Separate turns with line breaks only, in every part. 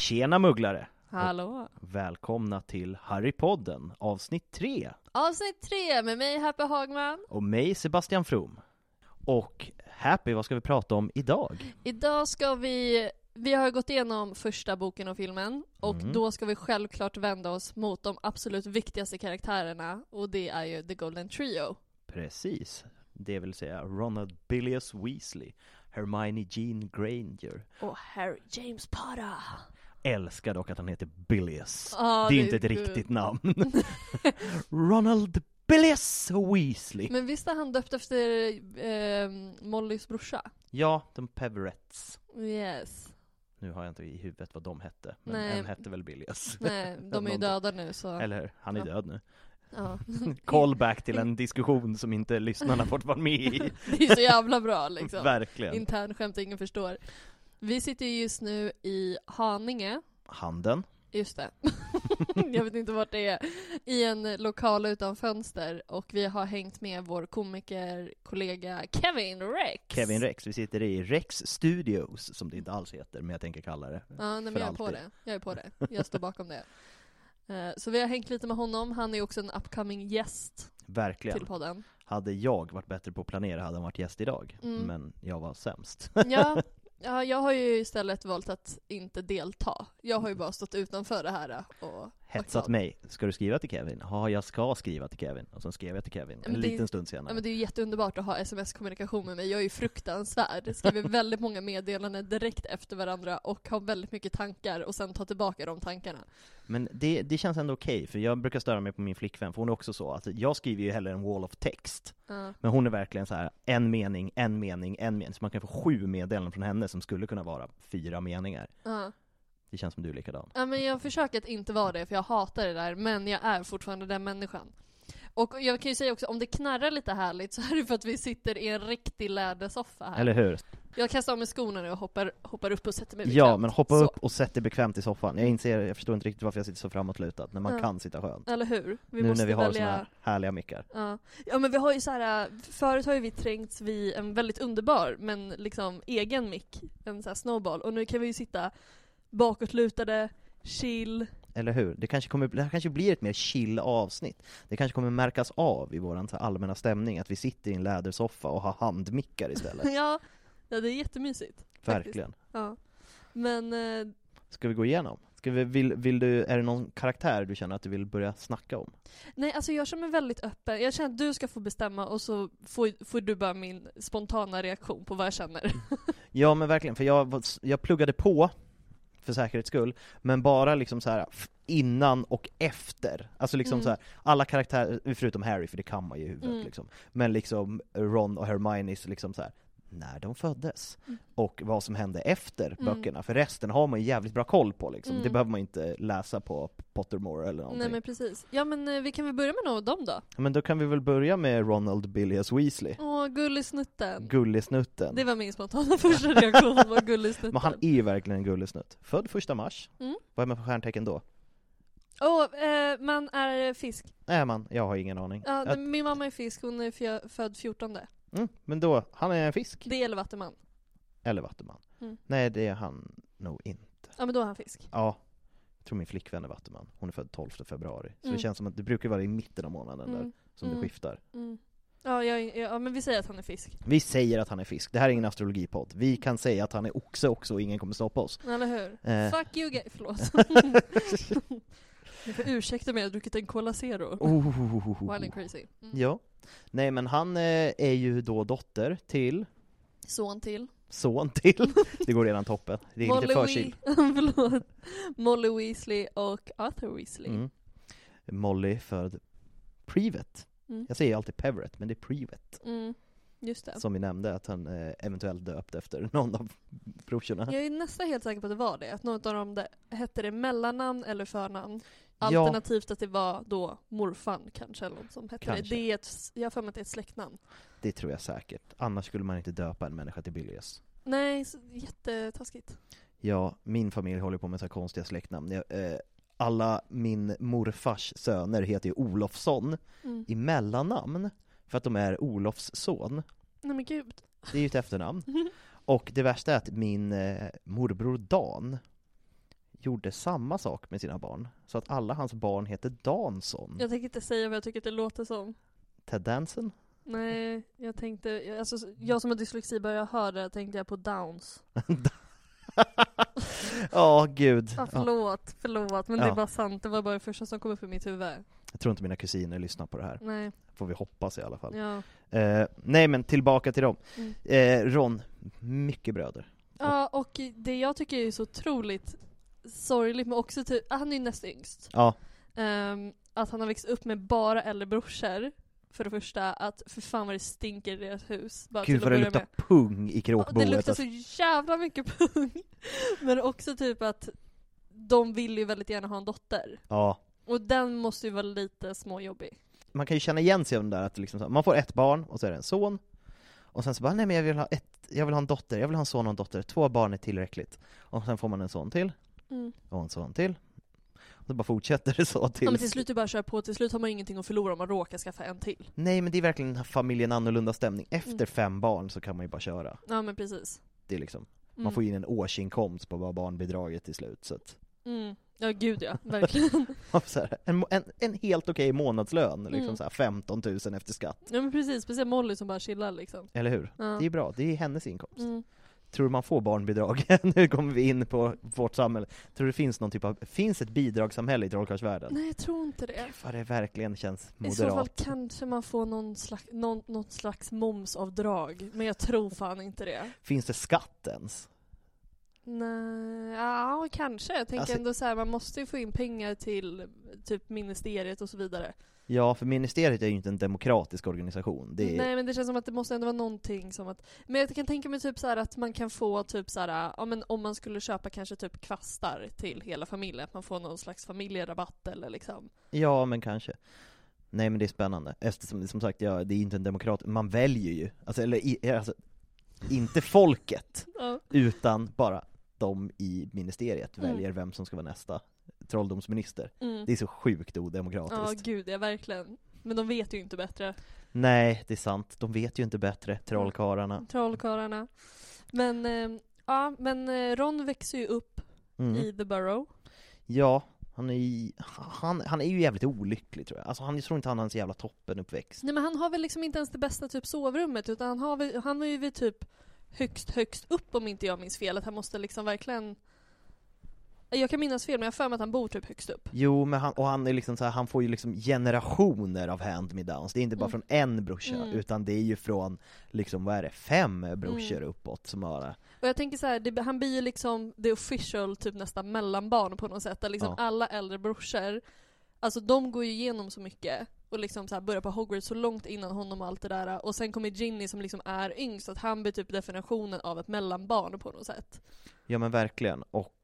Tjena mugglare!
Hallå!
Välkomna till Harrypodden avsnitt 3
Avsnitt tre med mig Happy Hagman.
och mig Sebastian From. Och Happy, vad ska vi prata om idag?
Idag ska vi, vi har gått igenom första boken och filmen och
Mm.
då ska vi självklart vända oss mot de absolut viktigaste karaktärerna och det är ju The Golden Trio.
Precis, det vill säga Ronald Billius Weasley, Hermione Jean Granger.
Och Harry James Potter.
Älskar dock att han heter Billius.
Ah,
det är
det
inte
är
ett
kul.
riktigt namn. Ronald Billius Weasley!
Men visst är han döpt efter eh, Mollys brorsa?
Ja, de Peverets.
Yes.
Nu har jag inte i huvudet vad de hette, men
Nej.
en hette väl Billius.
Nej, de är ju
Någon-
döda nu så...
Eller hur? Han är
Ja.
död nu.
Ja.
Callback till en diskussion som inte lyssnarna fått vara med i.
Det är så jävla bra liksom.
Verkligen.
Internskämt ingen förstår. Vi sitter ju just nu i Haninge,
Handen.
just det. Jag vet inte vart det är. I en lokal utan fönster och vi har hängt med vår komikerkollega Kevin Rex.
Kevin Rex. Vi sitter i Rex Studios, som det inte alls heter, men jag tänker kalla det.
Ja, nej,
för
men jag är på
alltid.
det. Jag är på det. Jag står bakom det. Eh, Så vi har hängt lite med honom. Han är också en upcoming gäst till
Verkligen.
podden.
Hade jag varit bättre på att planera hade han varit gäst idag.
Mm.
Men jag var sämst.
Ja, ja, jag har ju istället valt att inte delta. Jag har ju bara stått utanför det här eh, och
Hetsat mig. Ska du skriva till Kevin? Ja, jag ska skriva till Kevin. Och sen skrev jag till Kevin
men
en
det-
liten stund
Ja,
senare.
men det är ju jätteunderbart att ha sms-kommunikation med mig. Jag är ju fruktansvärd. Jag skriver väldigt många meddelanden direkt efter varandra och har väldigt mycket tankar och sen tar tillbaka de tankarna.
Men det, det känns ändå okej, för jag brukar störa mig på min flickvän, för hon är också så att jag skriver ju hellre en wall of text.
Ja.
Men hon är verkligen så här en mening, en mening, en mening. Så man kan få sju meddelanden från henne som skulle kunna vara fyra meningar.
Ja.
Det känns som du är likadan.
ja, men jag försöker att inte vara det för jag hatar det där, men jag är fortfarande den människan. Och jag kan ju säga också, om det knarrar lite härligt så är det för att vi sitter i en riktig lädersoffa här.
Eller hur?
Jag kastar av mig skorna nu och hoppar, hoppar upp och sätter mig
Ja,
bekvämt.
men hoppa
Så.
upp och sätt dig bekvämt i soffan. Jag inser, jag förstår inte riktigt varför jag sitter så framåtlutad, när man
Ja.
kan sitta skönt.
Eller hur? Vi
nu
måste
när vi har
välja...
såna här härliga mickar.
Ja. ja men vi har ju så här, förut har ju vi trängts vid en väldigt underbar men liksom egen mick, en så här snowball, och nu kan vi ju sitta bakåtlutade, chill.
Eller hur? Det, kanske kommer, det här kanske blir ett mer chill avsnitt. Det kanske kommer märkas av i vår så här allmänna stämning, att vi sitter i en lädersoffa och har handmickar istället.
ja, ja, det är jättemysigt. faktiskt.
Verkligen.
Ja. Men eh,
Ska vi gå igenom? Ska vi, vill, vill du, är det någon karaktär du känner att du vill börja snacka om?
nej, alltså jag känner mig väldigt öppen. Jag känner att du ska få bestämma och så får, får du bara min spontana reaktion på vad jag känner.
Ja men verkligen, för jag, var- jag pluggade på för säkerhets skull, men bara liksom så här f- innan och efter. Alltså liksom
Mm.
så här, alla karaktärer, förutom Harry för det kan man ju i huvudet
Mm.
liksom. Men liksom Ron och Hermione's liksom så här när de föddes
Mm.
och vad som hände efter
Mm.
böckerna, för resten har man ju jävligt bra koll på liksom.
Mm.
Det behöver man inte läsa på Pottermore eller någonting.
Nej men precis. Ja men eh, vi kan väl börja med någon av dem då?
Men då kan vi väl börja med Ronald Billius Weasley,
Åh, gullisnutten.
Gullisnutten.
Det var min spontana första reaktion, var gullisnutten.
Men han är ju verkligen en gullisnutt. Född första mars.
Mm.
Vad är man för stjärntecken då?
Åh, eh, man är fisk.
Nej man, jag har ingen aning.
Ja,
Att-
Min mamma är fisk, hon är fjö- född 14.
mm, men då, han är en fisk.
Det gäller vattenman.
Eller vattuman.
Mm.
Nej det är han nog inte.
Ja men då är han fisk.
Ja. Jag tror min flickvän är vattuman. Hon är född 12 februari. Så
Mm.
det känns som att det brukar vara i mitten av månaden där
Mm,
som
mm.
det skiftar.
mm. Ja, jag, jag, ja men vi säger att han är fisk.
Vi säger att han är fisk. Det här är ingen astrologipodd. Vi kan säga att han är oxe också och ingen kommer stoppa oss.
Eller hur?
Eh.
Fuck you guys. Förlåt. Ni får ursäkta mig, jag har druckit en Cola Zero.
Oh.
Wild and crazy. Mm.
Ja. Nej men han eh, är ju då dotter till
Son till.
son till. Det går redan toppen. Det är lite förkyld.
Wee- Förlåt. Molly Weasley och Arthur Weasley.
Mm. Molly född Privet.
Mm.
Jag säger alltid Peverett, men det är Privet.
Mm, Just det.
Som vi nämnde, att han eh, eventuellt döpt efter någon av brorsorna.
Jag är nästan helt säker på att det var det, att något av dem det, hette det mellannamn eller förnamn.
Ja.
Alternativt att det var då morfan kanske, eller något som hette det.
Kanske.
det är ett, jag har för mig att det är ett släktnamn.
Det tror jag säkert. Annars skulle man inte döpa en människa till Billius.
Nej, så, jättetaskigt.
Ja, min familj håller på med så här konstiga släktnamn. Jag, eh, alla min morfars söner heter ju Olofsson
Mm.
i mellannamn. För att de är Olofs son.
Nej men gud.
Det är ju ett efternamn. Och det värsta är att min eh, morbror Dan gjorde samma sak med sina barn. Så att alla hans barn heter Dansson.
Jag tänker inte säga vad jag tycker att det låter som.
Ted Danson?
Nej, jag tänkte, alltså, jag som har dyslexi började höra det tänkte jag på downs.
Ja, gud.
Ah,
Ja,
förlåt, förlåt, men det
Ja.
var sant. Det var bara det första som kom upp i mitt huvud.
jag tror inte mina kusiner lyssnar på det här.
Nej,
Får vi hoppas i alla fall.
ja.
Eh, nej, men tillbaka till dem.
Mm.
Eh, Ron, mycket bröder.
Ja, och det jag tycker är så otroligt sorgligt, men också typ, ah, han är ju näst yngst.
Ja,
Ehm, att han har växt upp med bara äldre brorsor, för det första. Att för fan vad det stinker i deras hus. Bara
gud
till att
vad det
börja
luktar
med.
pung i
Ja, Det
krokboet.
luktar
alltså.
så jävla mycket pung. men också typ att de vill ju väldigt gärna ha en dotter.
Ja,
Och den måste ju vara lite småjobbig.
man kan ju känna igen sig i den där att liksom, så här, man får ett barn och så är det en son. Och sen så bara, nej men jag vill ha ett, jag vill ha en dotter, jag vill ha en son och en dotter, två barn är tillräckligt. Och sen får man en son till,
Mm.
och en son till. Och så bara fortsätter det så tills...
Ja, men till slut är det bara att köra på, till slut har man ju ingenting att förlora om man råkar skaffa en till.
Nej men det är verkligen den här familjen annorlunda stämning. Efter
Mm.
fem barn så kan man ju bara köra.
Ja men precis.
Det är liksom,
Mm.
man får ju in en årsinkomst på bara barnbidraget till slut. Så att,
Mm. Ja gud ja, verkligen.
man får så här, en, en, en helt okej månadslön, liksom
Mm.
så här 15 000 efter skatt.
Ja men precis, speciellt Molly som bara chillar liksom.
Eller hur?
Ja.
Det är bra, det är hennes inkomst.
Mm.
Tror du man får barnbidrag? nu kommer vi in på vårt samhälle. Tror du det finns någon typ av, finns ett bidragssamhälle i trollkarlsvärlden?
Nej jag tror inte det.
Vad det verkligen känns
I så fall
moderat.
kanske man får någon slags, någon, något slags momsavdrag, men jag tror fan inte det.
Finns det skatt ens?
Nej, ja kanske. Jag tänker
Alltså-
ändå så här, man måste ju få in pengar till typ ministeriet och så vidare.
Ja, för ministeriet är ju inte en demokratisk organisation. Det är,
Nej men det känns som att det måste ändå vara någonting som att Men jag kan tänka mig typ så här att man kan få typ så här, ja, men om man skulle köpa kanske typ kvastar till hela familjen, att man får någon slags familjerabatt eller liksom
Ja, men kanske. Nej men det är spännande, eftersom som sagt, ja, det är inte en demokrat, man väljer ju, alltså, eller i, alltså, inte folket,
ja.
utan bara de i ministeriet
Mm.
väljer vem som ska vara nästa trolldomsminister.
Mm.
Det är så sjukt
Ja
odemokratiskt.
gud ja verkligen. Men de vet ju inte bättre,
Nej, det är sant, de vet ju inte bättre, trollkarlarna.
trollkarlarna. Men eh, ja, men eh, Ron växer ju upp
Mm.
i The Burrow.
Ja, han är, ju- han, han är ju jävligt olycklig tror jag. Alltså han, jag tror inte han har en så jävla toppenuppväxt.
Nej men han har väl liksom inte ens det bästa typ sovrummet utan han, har väl, han är ju vid typ högst högst upp om inte jag minns fel. Att han måste liksom verkligen Jag kan minnas fel men jag har för mig att han bor typ högst upp.
Jo, men han, och han, är liksom så här, han får ju liksom generationer av hand-me-downs. Det är inte bara
Mm.
från en brorsa,
Mm.
utan det är ju från, liksom, vad är det, fem brorsor
Mm.
uppåt som har det.
Och jag tänker så här, det, han blir ju liksom the official typ nästan mellanbarn på något sätt. Där liksom
Ja.
alla äldre brorsor, alltså de går ju igenom så mycket och liksom så här börjar på Hogwarts så långt innan honom och allt det där. Och sen kommer Ginny som liksom är yngst, så att han blir typ definitionen av ett mellanbarn på något sätt.
Ja men verkligen, och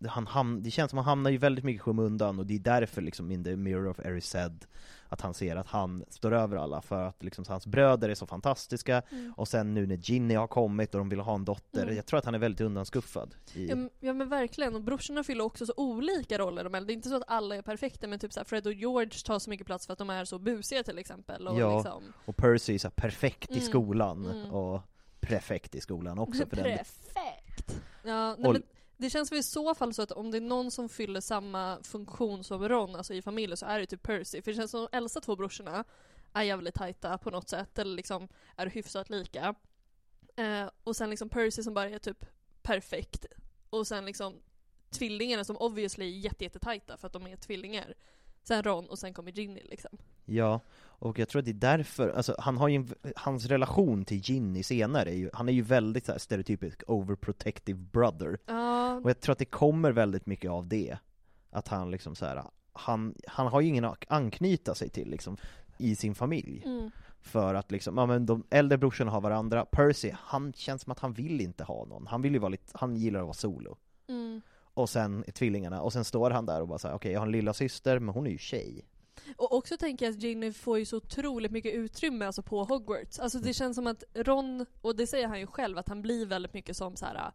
det- han ham- det känns som att han hamnar ju väldigt mycket i skymundan och det är därför liksom in the mirror of every said att han ser att han står över alla för att liksom så hans bröder är så fantastiska och sen nu när Ginny har kommit och de vill ha en dotter,
Mm.
jag tror att han är väldigt undanskuffad i,
Ja, men- Ja men verkligen, och brorsorna fyller också så olika roller de äldre. Det är inte så att alla är perfekta men typ så här, Fred och George tar så mycket plats för att de är så busiga till exempel. Och
Ja.
liksom,
och Percy är så här perfekt i
Mm,
skolan
mm.
och prefekt i skolan också för den
Prefekt! Ja, nej,
Och-
men det känns väl i så fall så att om det är någon som fyller samma funktion som Ron, alltså i familjen, så är det typ Percy. För det känns som de äldsta två brorsorna är jävligt tajta på något sätt, eller liksom är hyfsat lika. Eh, och sen liksom Percy som bara är typ perfekt. Och sen liksom tvillingarna som obviously är jätte, jättetajta för att de är tvillingar. Sen Ron och sen kommer Ginny liksom.
Ja, och jag tror att det är därför, alltså han har ju en, hans relation till Ginny senare, är ju, han är ju väldigt så här stereotypisk overprotective brother
Ja,
Och jag tror att det kommer väldigt mycket av det. Att han liksom så här, han, han har ju ingen att anknyta sig till liksom, i sin familj.
mm,
För att liksom, ja men de äldre brorsorna har varandra, Percy, han känns som att han vill inte ha någon. Han vill ju vara lite, han gillar att vara solo.
mm.
Och sen är tvillingarna, och sen står han där och bara säger okej jag har en lilla syster men hon är ju tjej.
Och också tänker jag att Ginny får ju så otroligt mycket utrymme alltså på Hogwarts. Alltså det känns som att Ron, och det säger han ju själv, att han blir väldigt mycket som så här,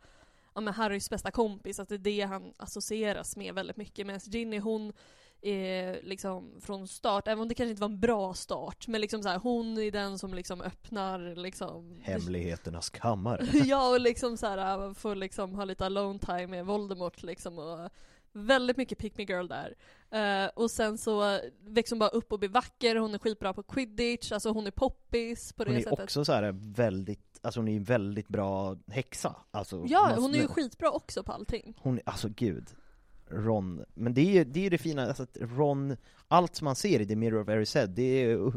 ja men Harrys bästa kompis, att det är det han associeras med väldigt mycket. Medan Ginny hon är liksom från start, även om det kanske inte var en bra start, men liksom så här, hon är den som liksom öppnar liksom
Hemligheternas kammare.
ja, och liksom så här, får liksom ha lite alone time med Voldemort liksom och väldigt mycket pick me girl där. Eh, och sen så växer hon bara upp och blir vacker, hon är skitbra på quidditch, alltså hon är poppis på det
Hon är
sättet.
också så här väldigt, alltså hon är ju en väldigt bra häxa. Alltså,
ja,
man-
hon är ju skitbra också på allting.
Hon, alltså gud, Ron. Men det är ju det, är ju det fina, alltså att Ron, allt som man ser i The Mirror of Erised, det, är ju-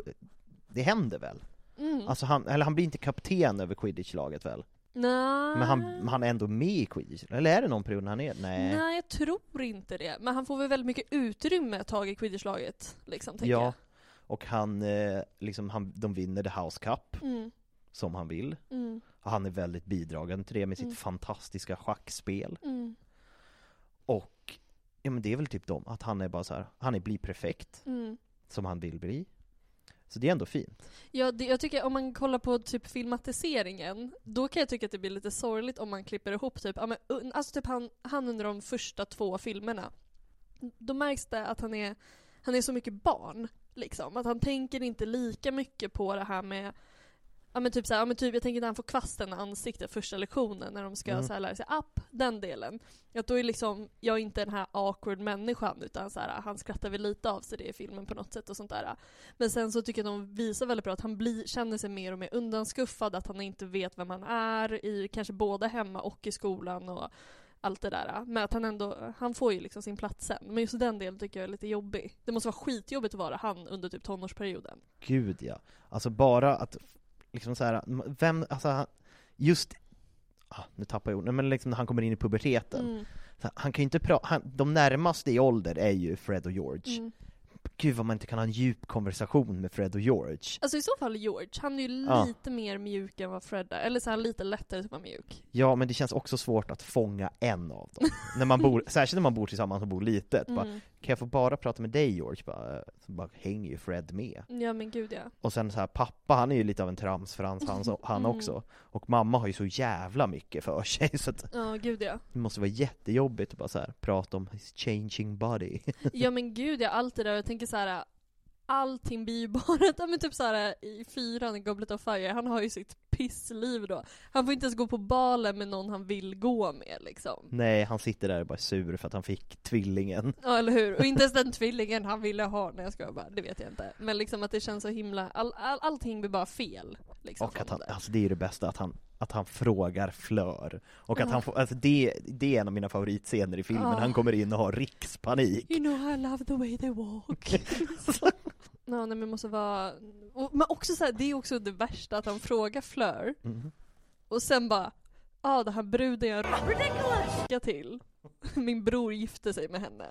det händer väl?
Mm.
Alltså han, eller han blir inte kapten över quidditch-laget väl?
Nej.
Men han, men han är ändå med i quidditch, eller är det någon period när han är Nej.
Nej, jag tror inte det. Men han får väl väldigt mycket utrymme ett tag i quidditchlaget. Liksom, tänker
ja. Och han, eh, liksom, han, de vinner The House Cup,
jag. Mm,
som han vill.
mm,
Han är väldigt bidragande till det med sitt
Mm.
fantastiska schackspel.
mm,
Och, ja men det är väl typ dem, att han är bara så här, han är bli prefekt,
mm.
som han vill bli. Så det är ändå fint.
Ja, det, jag tycker om man kollar på typ filmatiseringen, då kan jag tycka att det blir lite sorgligt om man klipper ihop typ, ja, men, un- alltså typ han, han under de första två filmerna. Då märks det att han är, han är så mycket barn, liksom. Att han tänker inte lika mycket på det här med Ja men typ såhär, ja, men typ, jag tänker när han får kvasten i ansiktet första lektionen när de ska
Mm.
så här lära sig app, den delen. Att då är liksom, jag är inte den här awkward människan utan så här, han skrattar väl lite av sig det i filmen på något sätt och sånt där. Men sen så tycker jag att de visar väldigt bra att han blir, känner sig mer och mer undanskuffad, att han inte vet vem han är i kanske både hemma och i skolan och allt det där. Men att han ändå, han får ju liksom sin plats sen. Men just den delen tycker jag är lite jobbig. Det måste vara skitjobbigt att vara han under typ tonårsperioden.
Gud ja. Alltså bara att, liksom så här, vem, alltså han- just, ah, nu tappar jag ord, Nej, men liksom när han kommer in i puberteten.
Mm,
Så här, Han kan ju inte prata, de närmaste i ålder är ju Fred och George.
mm.
Gud vad man inte kan ha en djup konversation med Fred och George.
Alltså i så fall George, han är ju
Ja.
lite mer mjuk än vad Fred är. Eller så här lite lättare att vara mjuk.
Ja, men det känns också svårt att fånga en av dem. när man bor, särskilt när man bor tillsammans och bor litet. Bara,
Mm.
kan jag få bara prata med dig George? Bara, eh, så bara hänger ju Fred med.
Ja men gud ja.
Och sen så här, pappa han är ju lite av en tramsfrans han, han
Mm.
också. Och mamma har ju så jävla mycket för sig så att
Ja gud ja.
Det måste vara jättejobbigt att bara så här, prata om his changing body.
Ja men gud ja, allt det där. Jag tänker så här. äh, Allting blir ju bara, ja, men typ så här i fyran i Goblet of Fire, han har ju sitt pissliv då. Han får inte ens gå på balen med någon han vill gå med liksom.
Nej, han sitter där och bara är sur för att han fick tvillingen.
Ja eller hur? Och inte ens den tvillingen han ville ha, när jag skojar bara, det vet jag inte. Men liksom att det känns så himla, all, all, allting blir bara fel. Liksom,
Och att
från
han,
det där.
alltså det är ju det bästa, att han, att han frågar Flör. Och att han får, alltså det, det är en av mina favoritscener i filmen,
Ja.
han kommer in och har rikspanik.
You know I love the way they walk. Ja, nej, men det måste vara... Och, men också så här, det är också det värsta att han frågar Fleur
Mhm.
och sen bara Ja, ah, den här bruden jag råkar till. Min bror gifte sig med henne.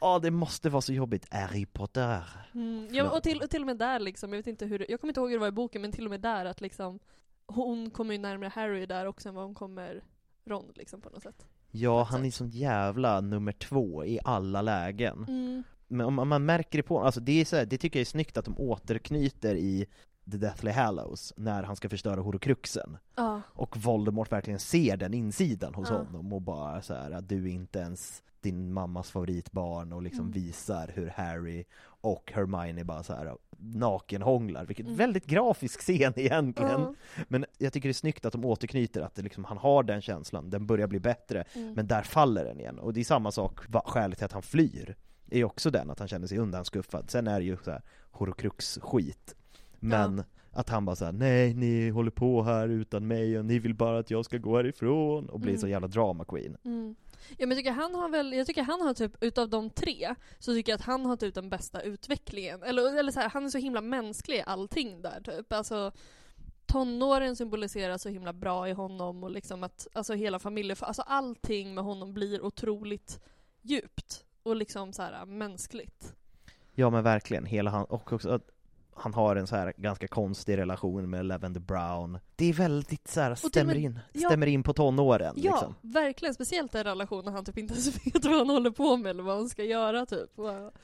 Ja, det måste vara så jobbigt. Harry Potter.
Mm. Ja, och, till, och till och med där liksom, jag vet inte hur det- Jag kommer inte ihåg hur det var i boken, men till och med där att liksom hon kommer ju närmare Harry där också än vad hon kommer Ron liksom på något sätt.
Ja, han är sån jävla nummer två i alla lägen.
Mm.
Men om om man märker det på alltså det, är så här, det tycker jag är snyggt att de återknyter i The Deathly Hallows när han ska förstöra Horokruxen.
Ja.
Och Voldemort verkligen ser den insidan hos
Ja.
honom och bara så här att du är inte ens din mammas favoritbarn och liksom
Mm.
visar hur Harry och Hermione bara så här nakenhånglar, vilket väldigt grafisk scen egentligen.
Mm. Ja.
Men jag tycker det är snyggt att de återknyter att det liksom, han har den känslan, den börjar bli bättre,
Mm.
men där faller den igen. Och det är samma sak, va- skälet till att han flyr, är ju också den att han känner sig undanskuffad. Sen är det ju så här horocrux-skit. Men att han bara såhär, nej ni håller på här utan mig och ni vill bara att jag ska gå härifrån och blir
Mm.
så jävla drama queen.
Mm. Ja, men jag tycker han har väl, jag tycker han har typ, utav de tre, så tycker jag att han har typ den bästa utvecklingen. Eller, eller så här, han är så himla mänsklig i allting där typ. Alltså, tonåren symboliserar så himla bra i honom och liksom att, alltså hela familjen, alltså allting med honom blir otroligt djupt. Och liksom så här mänskligt.
Ja men verkligen, hela han, och också att han har en så här ganska konstig relation med Lavender Brown. Det är väldigt så här,
till och
stämmer
med-
in,
ja.
stämmer in på tonåren
Ja,
liksom.
verkligen. Speciellt den relationen han typ inte ens vet vad han håller på med eller vad han ska göra typ. Och,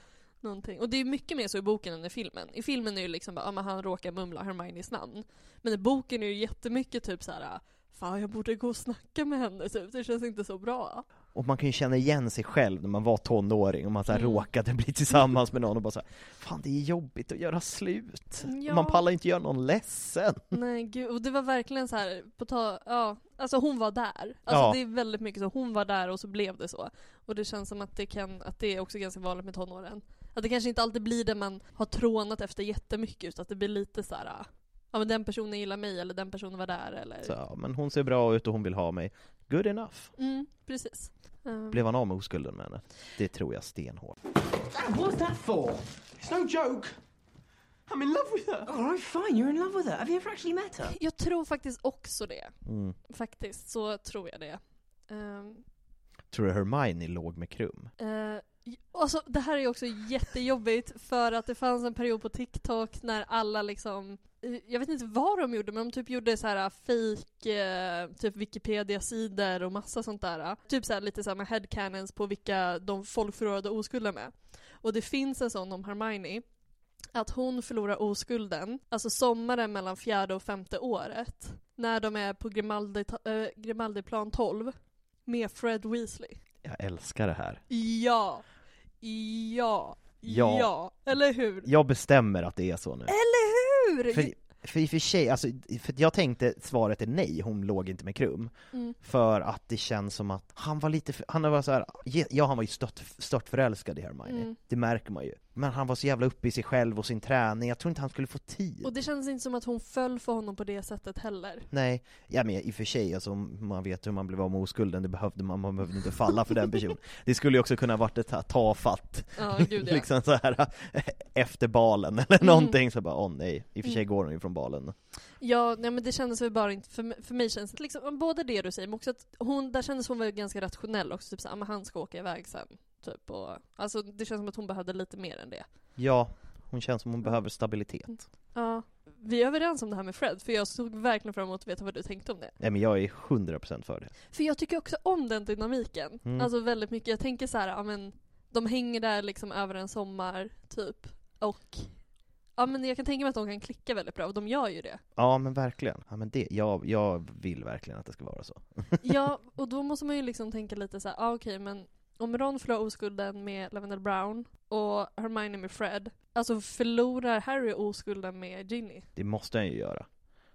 någonting. Och det är mycket mer så i boken än i filmen. I filmen är det liksom bara, ja, men han råkar mumla Hermiones namn. Men i boken är det jättemycket typ så här. Fan jag borde gå och snacka med henne typ, det känns inte så bra.
Och man kan ju känna igen sig själv när man var tonåring och man så här
Mm.
råkade bli tillsammans med någon och bara så här, Fan det är jobbigt att göra slut,
Ja.
man pallar ju inte göra någon ledsen
Nej gud, och det var verkligen så här på ta, ja, alltså hon var där. Alltså
Ja.
det är väldigt mycket så, hon var där och så blev det så. Och det känns som att det kan, att det är också ganska vanligt med tonåren. Att det kanske inte alltid blir det man har trånat efter jättemycket, utan att det blir lite så här. ja men den personen gillar mig, eller den personen var där, eller...
så, ja, Men hon ser bra ut och hon vill ha mig, good enough
Mm, precis. Mm.
Blev han av med oskulden med henne? Det tror jag stenhårt
What's that for? It's no joke. I'm in love with her. All right, fine. You're in love with her. Have you ever actually met her?
Eh, Jag tror faktiskt också det.
mm.
Faktiskt så tror jag det. Ehm,
Tror du Hermione låg med Krum?
Eh, j- alltså, det här är ju också jättejobbigt för att det fanns en period på TikTok när alla liksom eh, jag vet inte vad de gjorde, men de typ gjorde så här fake eh, typ Wikipedia-sidor och massa sånt där. Typ så här lite samma headcanons på vilka de folk förlorade oskulden med. Och det finns en sån om Hermione, att hon förlorar oskulden, alltså sommaren mellan fjärde och femte året, när de är på Grimaldi, äh, Grimaldiplan 12 med Fred Weasley.
Jag älskar det här
Ja. Ja.
Ja.
Ja. Eller hur?
Jag bestämmer att det är så nu
Eller hur?
För, för i och för sig, alltså, för jag tänkte svaret är nej, hon låg inte med Krum.
Mm.
För att det känns som att han var lite, för, han var så här, ja han var ju stört, stört förälskad i Hermione,
Mm.
det märker man ju. Men han var så jävla uppe i sig själv och sin träning, jag tror inte han skulle få tid.
Och det kändes inte som att hon föll för honom på det sättet heller.
Nej, ja men i och för sig, alltså, om man vet hur man blev av med oskulden, det behövde man, man behövde inte falla för den personen. Det skulle ju också kunna varit ett så här tafatt,
Ja, gud ja. Mm.
liksom så här efter balen eller någonting, så bara åh nej, i och för sig går hon ju från balen.
Ja, nej, men det kändes väl bara inte, för, m- för mig känns det liksom, både det du säger men också att hon, där kändes hon väl ganska rationell också, typ såhär, "Ah, men han ska åka iväg sen. Typ och, alltså det känns som att hon behövde lite mer än det.
Ja, hon känns som hon behöver stabilitet.
Ja. Vi är överens om det här med Fred, för jag såg verkligen fram emot att veta vad du tänkte om det.
Nej men jag är 100% för det.
För jag tycker också om den dynamiken.
Mm.
Alltså väldigt mycket. Jag tänker så här, ja men de hänger där liksom över en sommar typ. Och ja men jag kan tänka mig att de kan klicka väldigt bra och de gör ju det.
Ja men verkligen. Ja, men det, jag, jag vill verkligen att det ska vara så.
Ja, och då måste man ju liksom tänka lite så här, ja okej men om Ron förlorar oskulden med Lavender Brown och Hermione med Fred, alltså förlorar Harry oskulden med Ginny?
Det måste han ju göra.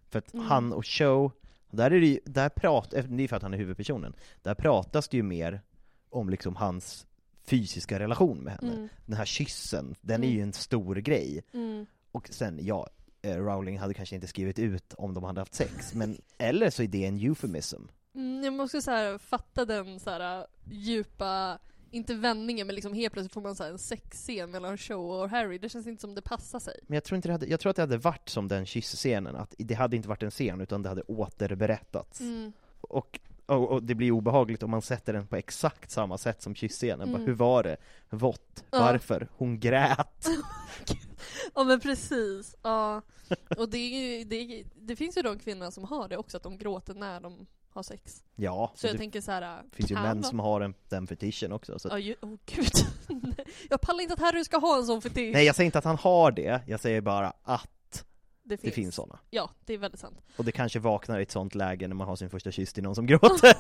För att
Mm.
han och Cho, där är det ju, där prat, eftersom det är för att han är huvudpersonen, där pratas det ju mer om liksom hans fysiska relation med henne.
Mm.
Den här kyssen, den är
Mm.
ju en stor grej.
Mm.
Och sen, ja, eh, Rowling hade kanske inte skrivit ut om de hade haft sex, men eller så är det en euphemism.
Mm, jag måste så här, fatta den så här, äh, djupa, inte vändningen men liksom helt plötsligt får man så här, en sexscen mellan Cho och Harry. Det känns inte som det passar sig.
Men jag tror, inte det hade, jag tror att det hade varit som den kyssscenen, att det hade inte varit en scen utan det hade återberättats.
Mm.
Och, och, och det blir obehagligt om man sätter den på exakt samma sätt som kyssscenen. Bara,
Mm.
hur var det? Vått?
Ja.
Varför? Hon grät!
Ja men precis. Ja. Och det, är ju, det, är- det finns ju de kvinnorna som har det också, att de gråter när de har sex.
Ja,
Så jag
Alltså, det
tänker så här.
finns ju
kan
män
vara-
som har en, den fetischen också. Så. att-
Ja, ju, oh, gud. Nej. jag pallar inte att Harry ska ha en sån fetisch.
Nej, jag säger inte att han har det, jag säger bara att
det,
det finns sådana.
Ja, det är väldigt sant.
Och det kanske vaknar i ett sånt läge när man har sin första kyss till någon som gråter.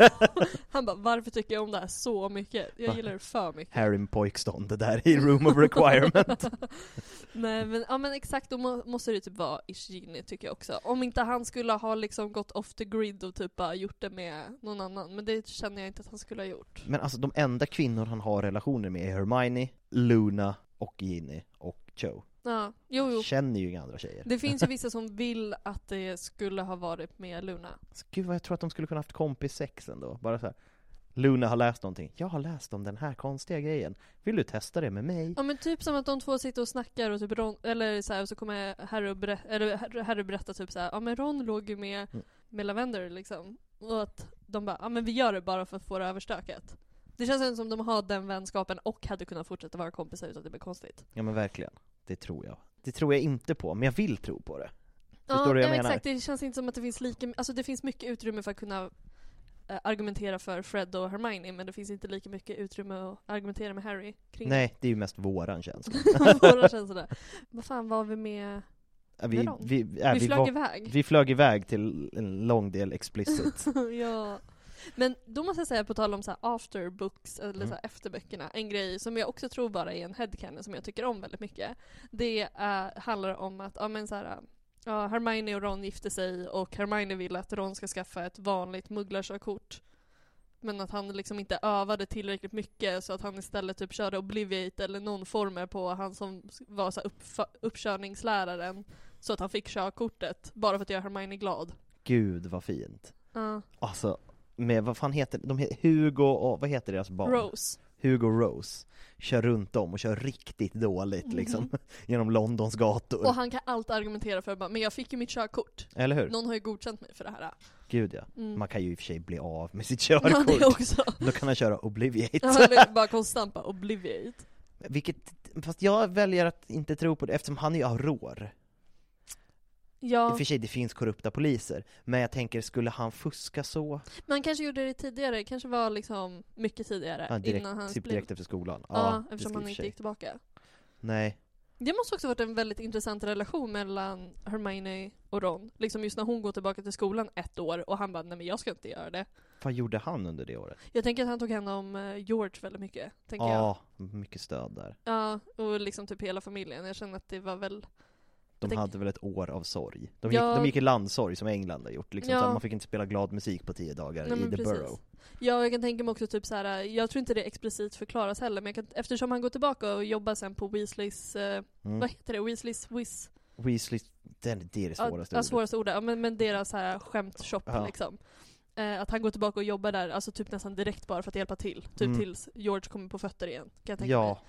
Han bara, varför tycker jag om det här så mycket? Jag
Va?
gillar det för mycket.
Harry med pojkstånd, det där i room of requirement.
Nej men, ja men exakt, då må- måste det typ vara Ishigini tycker jag också. Om inte han skulle ha liksom gått off the grid och typ bara gjort det med någon annan. Men det känner jag inte att han skulle ha gjort.
Men alltså de enda kvinnor han har relationer med är Hermione, Luna och Ginny och Cho.
Ja, jo jo.
Känner ju inga andra tjejer.
Det finns ju vissa som vill att det skulle ha varit med Luna.
Så Gud vad jag tror att de skulle kunna haft kompissex ändå. Bara så här. Luna har läst någonting. Jag har läst om den här konstiga grejen. Vill du testa det med mig?
Ja men typ som att de två sitter och snackar och typ Ron, eller så här, och så kommer Harry och berä- eller Harry- Harry berätta typ så här, ja men Ron låg ju med,
Mm.
med Lavender liksom. Och att de bara, ja men vi gör det bara för att få det överstökat. Det känns ändå som de har den vänskapen och hade kunnat fortsätta vara kompisar utan att det blir konstigt.
Ja men verkligen. Det tror jag. Det tror jag inte på, men jag vill tro på det. Förstår
ja,
du vad jag
ja,
menar?
exakt, det känns inte som att det finns lika, alltså det finns mycket utrymme för att kunna eh, argumentera för Fred och Hermione men det finns inte lika mycket utrymme att argumentera med Harry kring det.
Nej, det är ju mest våran känsla.
Våra känslor. Vad fan var vi med?
Ja, Vi,
Med dem?
Äh, vi, ja,
vi flög
var-
iväg.
vi flög iväg till en lång del explicit.
ja. Men då måste jag säga, på tal om så här after books, eller så
Mm.
här efterböckerna, en grej som jag också tror bara är en headcanon som jag tycker om väldigt mycket. Det eh, handlar om att, ja men så här, ja, Hermione och Ron gifte sig och Hermione vill att Ron ska skaffa ett vanligt mugglarkörkort. Men att han liksom inte övade tillräckligt mycket så att han istället typ körde Obliviate eller någon former på han som var så här uppf- uppkörningsläraren. Så att han fick körkortet, bara för att göra Hermione glad.
Gud vad fint.
Ja.
Alltså, med vad fan heter de? he- Hugo och, vad heter deras barn?
Rose.
Hugo Rose. Kör runt om och kör riktigt dåligt liksom, genom Londons gator.
Mhm. Och han kan alltid argumentera för bara, men jag fick ju mitt körkort.
Eller hur?
Någon har ju godkänt mig för det här.
Gud ja.
Mm.
Man kan ju i och för sig bli av med sitt
Ja,
körkort.
det också.
Då kan han köra
Ja,
Obliviate.
Eller bara konstant bara obliviate.
Vilket, fast jag väljer att inte tro på det eftersom han är ju auror. I och
Ja,
för sig, det finns korrupta poliser. Men jag tänker, skulle han fuska så?
man kanske gjorde det tidigare, kanske var liksom mycket tidigare
Ja, direkt,
innan han
typ
blev...
direkt efter skolan.
ja,
det skulle
eftersom
i och
han
för
inte
sig-
gick tillbaka.
Nej.
Det måste också varit en väldigt intressant relation mellan Hermione och Ron. Liksom just när hon går tillbaka till skolan ett år och han bara, nej men jag ska inte göra det.
Vad gjorde han under det året?
Jag tänker att han tog hand om eh, George väldigt mycket, tänker jag.
Ja, mycket stöd där.
Ja, och liksom typ hela familjen. Jag känner att det var väl
De
Jag tänker-
hade väl ett år av sorg. De gick,
Ja.
de gick i landssorg som England har gjort, liksom,
Ja.
så att man fick inte spela glad musik på tio dagar
Nej,
i
men
The
precis.
Borough.
Ja, jag kan tänka mig också typ så här. jag tror inte det explicit förklaras heller, men jag kan, eftersom han går tillbaka och jobbar sen på Weasleys, eh,
Mm.
vad heter det, Weasleys, Wiz,
Weasley, den, det är det
ja,
svåraste
ja,
ordet.
svåraste ordet, ja, men, men deras så här skämtshop
Ja.
liksom. Eh, att han går tillbaka och jobbar där, alltså typ nästan direkt bara för att hjälpa till. Typ
Mm.
tills George kommer på fötter igen, kan jag tänka mig.
Ja.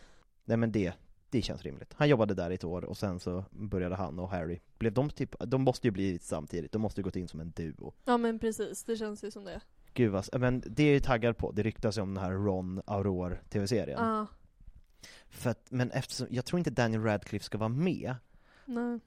Nej men det, det känns rimligt. Han jobbade där i ett år och sen så började han och Harry. Blev de typ, de måste ju bli samtidigt, de måste ju gått in som en duo.
Ja men precis, det känns ju som det.
Gud vad, men det är jag ju taggad på. Det ryktas ju om den här Ron Aurore TV-serien.
Ja,
För att, men eftersom, jag tror inte Daniel Radcliffe ska vara med.
nej.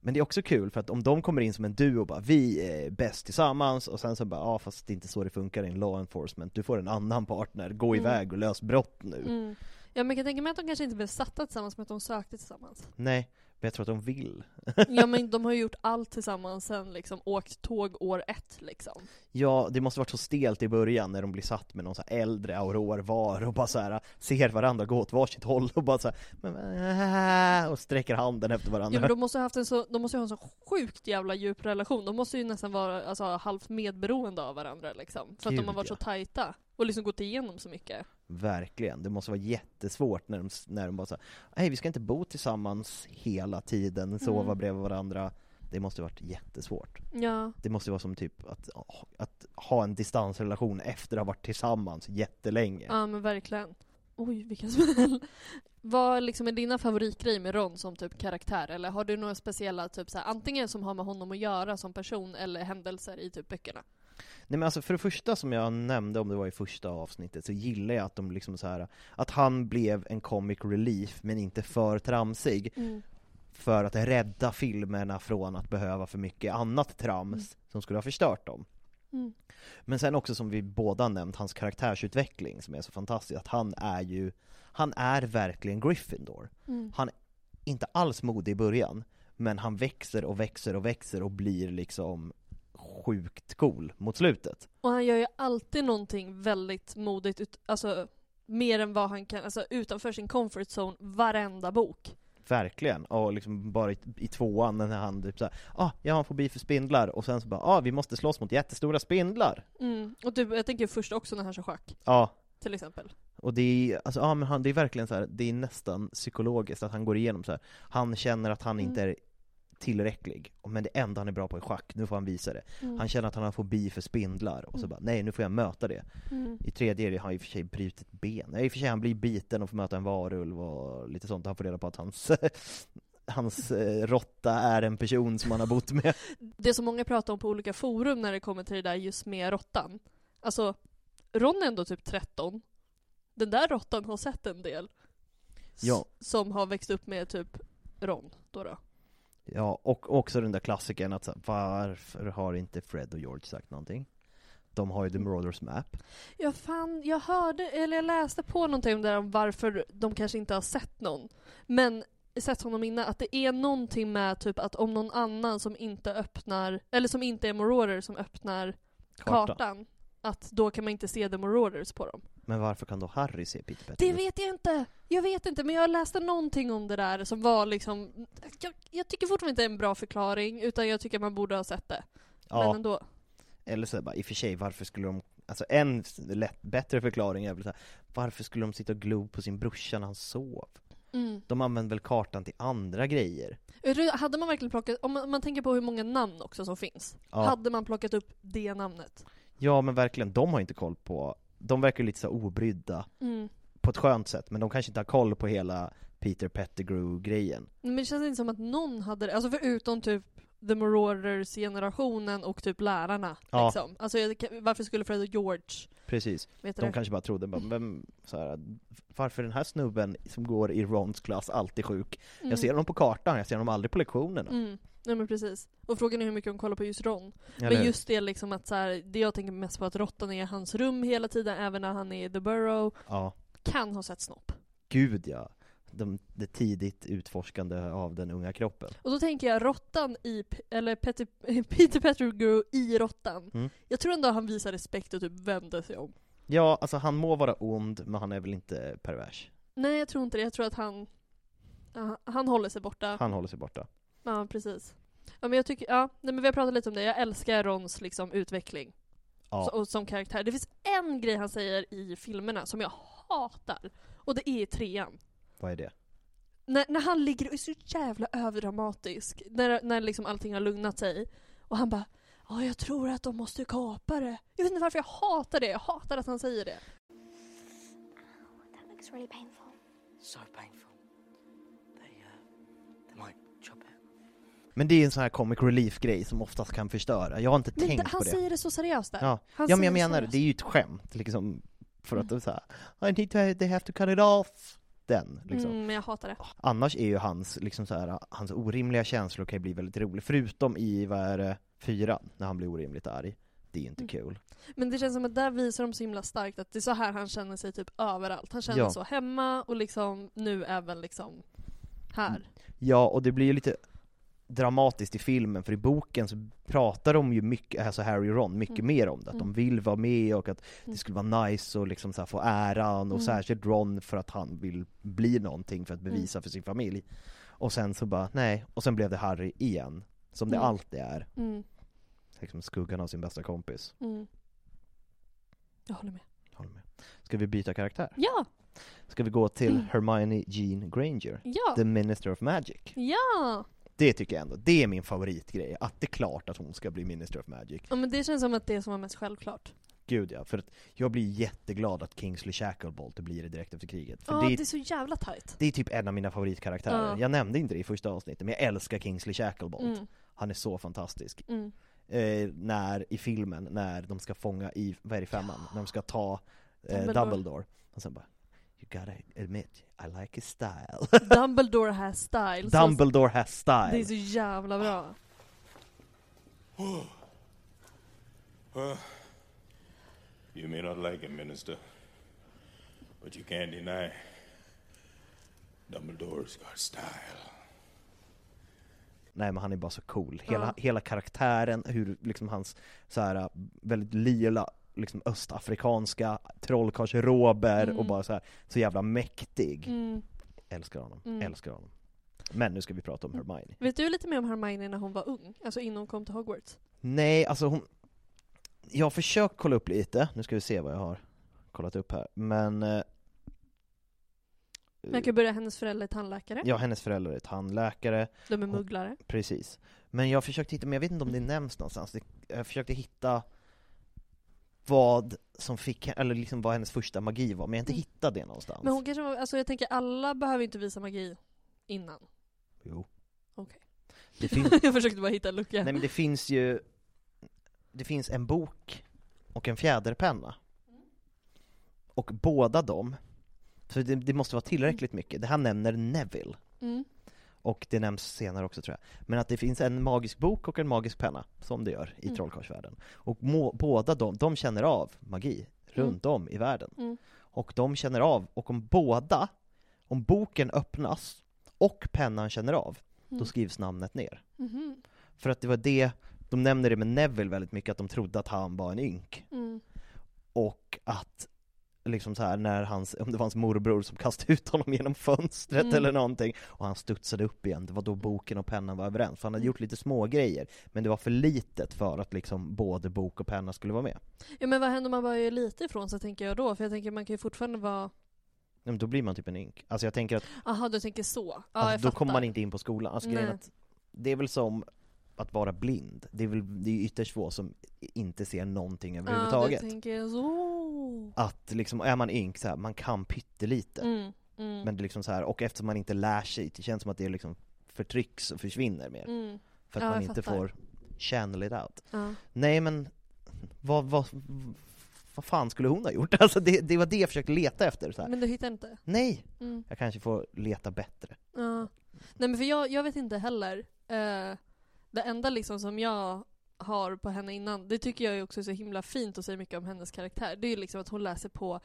Men det är också kul för att om de kommer in som en duo och bara vi är bäst tillsammans och sen så bara ja ah, fast det är inte så det funkar i en law enforcement, du får en annan partner, gå
Mm.
iväg och lös brott nu.
Mm. Ja men jag kan tänka mig att de kanske inte blev satta tillsammans, men att de sökte tillsammans.
Nej, Men jag tror att de vill.
Ja men de har ju gjort allt tillsammans sen liksom åkt tåg år ett liksom.
Ja, det måste varit så stelt i början när de blir satt med någon så här äldre auror var och bara så här ser varandra gå åt varsitt håll och bara så här, men, "Äh," och sträcker handen efter
Ja,
varandra.
men de måste ha haft en så, de måste ju ha en så sjukt jävla djup relation. De måste ju nästan vara alltså, halvt medberoende av varandra liksom. För att
Gud,
de har varit
ja.
så tajta. Och liksom gått igenom så mycket.
Verkligen, det måste vara jättesvårt när de, när de bara så här, nej vi ska inte bo tillsammans hela tiden, sova
Mm.
bredvid varandra. Det måste varit jättesvårt.
Ja.
Det måste vara som typ att, att ha en distansrelation efter att ha varit tillsammans jättelänge.
Ja men verkligen. Oj vilken smäll. Vad liksom är dina favoritgrejer med Ron som typ karaktär? Eller har du några speciella typ så här, antingen som har med honom att göra som person eller händelser i typ böckerna?
Nej men alltså för det första som jag nämnde om det var i första avsnittet så gillar jag att de liksom så här att han blev en comic relief men inte för tramsig
Mm.
för att rädda filmerna från att behöva för mycket annat trams som skulle ha förstört dem.
Mm.
Men sen också som vi båda har nämnt, hans karaktärsutveckling som är så fantastisk, att han är ju, han är verkligen Gryffindor.
Mm.
Han är inte alls modig i början, men han växer och växer och växer och blir liksom sjukt cool mot slutet.
Och han gör ju alltid någonting väldigt modigt, ut, alltså mer än vad han kan, alltså utanför sin comfort zone varenda bok.
Verkligen, och liksom bara i, i tvåan när han typ såhär ah, jag har en fobi för spindlar och sen så bara ah, vi måste slåss mot jättestora spindlar!
Mm. Och typ, jag tänker först också när han kör schack,
Ja,
till exempel.
Och det är, alltså, ja, men han, det är verkligen så här, det är nästan psykologiskt att han går igenom så här. Han känner att han inte är tillräcklig, men det enda han är bra på är schack, nu får han visa det.
Mm.
Han känner att han har fobi för spindlar, och så bara nej nu får jag möta det.
Mm.
I tredje är det, han har i och för sig brutit ben, nej i och för sig han blir biten och får möta en varulv och lite sånt, han får reda på att hans Hans eh, råtta är en person som han har bott med.
Det som många pratar om på olika forum när det kommer till det där just med råttan. Alltså, Ron är ändå typ 13. Den där råttan har sett en del. S-
Ja.
Som har växt upp med typ Ron, då då.
Ja, och också den där klassikern att så här, varför har inte Fred och George sagt någonting? De har ju The Marauders Map.
Ja fan, jag hörde, eller jag läste på någonting om det där om varför de kanske inte har sett någon. Men sett honom innan, att det är någonting med typ att om någon annan som inte öppnar, eller som inte är Mororer som öppnar kartan, att då kan man inte se The Mororer på dem.
Men varför kan då Harry se Peter Pettigrew?
Det vet jag inte! Jag vet inte, men jag läste någonting om det där som var liksom, jag, jag tycker fortfarande inte det är en bra förklaring, utan jag tycker man borde ha sett det. Men
ja,
ändå.
eller så bara, i och för sig, varför skulle de Alltså en lätt, bättre förklaring är väl så här, varför skulle de sitta och glo på sin brorsa när han sov?
Mm.
De använder väl kartan till andra grejer?
Är det- Hade man verkligen plockat, om man, om man tänker på hur många namn också som finns,
Ja.
hade man plockat upp det namnet?
Ja men verkligen, de har inte koll på, de verkar ju lite så här obrydda
Mm.
på ett skönt sätt, men de kanske inte har koll på hela Peter Pettigrew-grejen.
Men det känns inte som att någon hade det, alltså förutom typ The Marauders-generationen och typ lärarna.
Ja.
Liksom. Alltså, jag, varför skulle Fred och George
Precis.
veta
De
det?
kanske bara trodde, bara, vem, så här, varför är den här snubben som går i Rons klass alltid sjuk?
Mm.
Jag ser honom på kartan, jag ser honom aldrig på lektionerna.
Mm. Nej men precis. Och frågan är hur mycket de kollar på just Ron.
Eller
Men
hur?
just det liksom att så här, det jag tänker mest på att råttan är i hans rum hela tiden, även när han är i The Burrow.
ja.
Kan ha sett snopp.
Gud ja! De, det tidigt utforskande av den unga kroppen.
Och då tänker jag råttan i, P- eller Petty, Peter Pettigrew i råttan.
Mm.
Jag tror ändå han visar respekt och typ vände sig om.
Ja, alltså han må vara ond, men han är väl inte pervers.
Nej jag tror inte det, jag tror att han, ja, han håller sig borta.
Han håller sig borta.
Ja precis. Ja men jag tycker, ja, nej, men vi har pratat lite om det, jag älskar Rons liksom utveckling.
Ja.
Så, och som karaktär. Det finns en grej han säger i filmerna som jag hatar. Och det är i trean.
Vad är det?
när, när han ligger och är så jävla överdramatisk, när, när liksom allting har lugnat sig, och han bara Ja, jag tror att de måste kapa det. Jag vet inte varför jag hatar det. Jag hatar att han säger det.
That looks really painful.
So painful. They, uh, they might chop it.
Men det är en sån här comic relief-grej som oftast kan förstöra. Jag har inte
Men
tänkt
han
på det.
säger det så seriöst där.
Ja,
Han
ja men jag
säger Mm.
menar,
seriöst.
det är ju ett skämt liksom. För att de såhär, I need to, they have to cut it off. Den, liksom.
Mm, men jag hatar det.
Annars är ju hans, liksom så här, hans orimliga känslor kan ju bli väldigt rolig. Förutom i, vad är det, fyran, när han blir orimligt arg. Det är ju inte
Mm.
kul.
Men det känns som att där visar de så himla starkt att det är så här han känner sig typ överallt. Han känner
Ja.
så hemma och liksom nu även liksom Här.
Ja, och det blir ju lite dramatiskt i filmen, för i boken så pratar de ju mycket, alltså Harry och Ron,
Mm.
mycket mer om det. Att de vill vara med och att det skulle vara nice och liksom så här få äran, och
Mm.
särskilt Ron för att han vill bli någonting för att bevisa för sin familj. Och sen så bara, nej, och sen blev det Harry igen. Som det
Mm.
alltid är.
Mm.
Liksom skuggan av sin bästa kompis.
Mm. Jag håller med.
Håller med. Ska vi byta karaktär?
Ja!
Ska vi gå till Hermione Jean Granger?
Mm. Ja!
The Minister of Magic.
Ja!
Det tycker jag ändå, det är min favoritgrej, att det är klart att hon ska bli Minister of Magic.
ja men det känns som att det som var mest självklart.
Gud ja, för att jag blir jätteglad att Kingsley Shacklebolt blir det direkt efter kriget. För
Ja,
det,
det...
är,
är så jävla tajt.
det är typ en av mina favoritkaraktärer.
Ja.
Jag nämnde inte det i första avsnittet, men jag älskar Kingsley Shacklebolt.
Mm.
Han är så fantastisk.
Mm.
Eh, när, i filmen, när de ska fånga i, vad är det i femman? När de ska ta eh,
Dumbledore.
Dumbledore. Och sen bara, you gotta admit, I like his style.
Dumbledore has style. så-
Dumbledore has style.
Det är så jävla bra.
You may not like it, Minister, but you can't deny Dumbledore's got style.
Nej men han är bara så cool. Hela, hela karaktären, hur liksom hans så här väldigt lila, liksom östafrikanska trollkarlsrober
Mm.
och bara så här så jävla mäktig. Älskar honom,
Mm.
älskar honom. Men nu ska vi prata om Hermione.
Vet du lite mer om Hermione när hon var ung? Alltså innan hon kom till Hogwarts?
Nej, alltså hon... Jag har försökt kolla upp lite, nu ska vi se vad jag har kollat upp här, men... eh,
Man kan börja, hennes föräldrar är tandläkare.
Ja, hennes föräldrar är tandläkare,
De är mugglare.
Precis. Men jag försökte hitta, men jag vet inte om det nämns någonstans. Det- Jag försökte hitta vad som fick, eller liksom vad hennes första magi var, men jag har inte hittat det någonstans.
Mm. Men hon kanske var, alltså jag tänker alla behöver inte visa magi innan.
Jo.
Okej.
Det, fin-
jag försökte bara hitta en lucka.
nej, men det finns ju, det finns en bok och en fjäderpenna.
Mm.
Och båda dem, så det, det måste vara tillräckligt mycket. Det här nämner Neville,
Mm.
och det nämns senare också tror jag. Men att det finns en magisk bok och en magisk penna, som det gör i
Mm.
trollkarlsvärlden. Och må, båda de, de känner av magi runt om i världen.
Mm.
Och de känner av, och om båda, om boken öppnas och pennan känner av,
Mm.
då skrivs namnet ner.
Mhm.
För att det var det, de nämner det med Neville väldigt mycket, att de trodde att han var en ynk.
Mm.
Och att liksom så här när hans, om det var hans morbror som kastade ut honom genom fönstret
Mm.
eller någonting och han studsade upp igen, det var då boken och pennan var överens. För han hade
Mm.
gjort lite små grejer men det var för litet för att liksom både bok och penna skulle vara med.
Ja men vad händer om man bara är lite ifrån så tänker jag då? För jag tänker man kan ju fortfarande vara...
Ja, Men då blir man typ en ynk. Alltså jag tänker att
Aha du tänker så. Ja jag
alltså, då
fattar.
kommer man inte in på skolan. Alltså grejen
Nej.
att det är väl som att vara blind. Det är väl det är ju ytterst få som inte ser någonting överhuvudtaget.
Ja du tänker så.
att liksom, är man ynk så här, man kan pyttelite.
Mm. Mm.
Men det är liksom så här, och eftersom man inte lär sig, det känns som att det liksom förtrycks och försvinner mer.
Mm.
För att
Ja,
man
jag
inte
fattar.
får channel it out.
Ja.
Nej men, vad, vad, vad fan skulle hon ha gjort? Alltså det, det var det jag försökte leta efter. Så här.
Men du hittar inte?
Nej!
Mm.
Jag kanske får leta bättre.
Ja. Nej men för jag, jag vet inte heller. Eh, det enda liksom som jag har på henne innan, det tycker jag är också så himla fint och säger mycket om hennes karaktär. Det är ju liksom att hon läser på,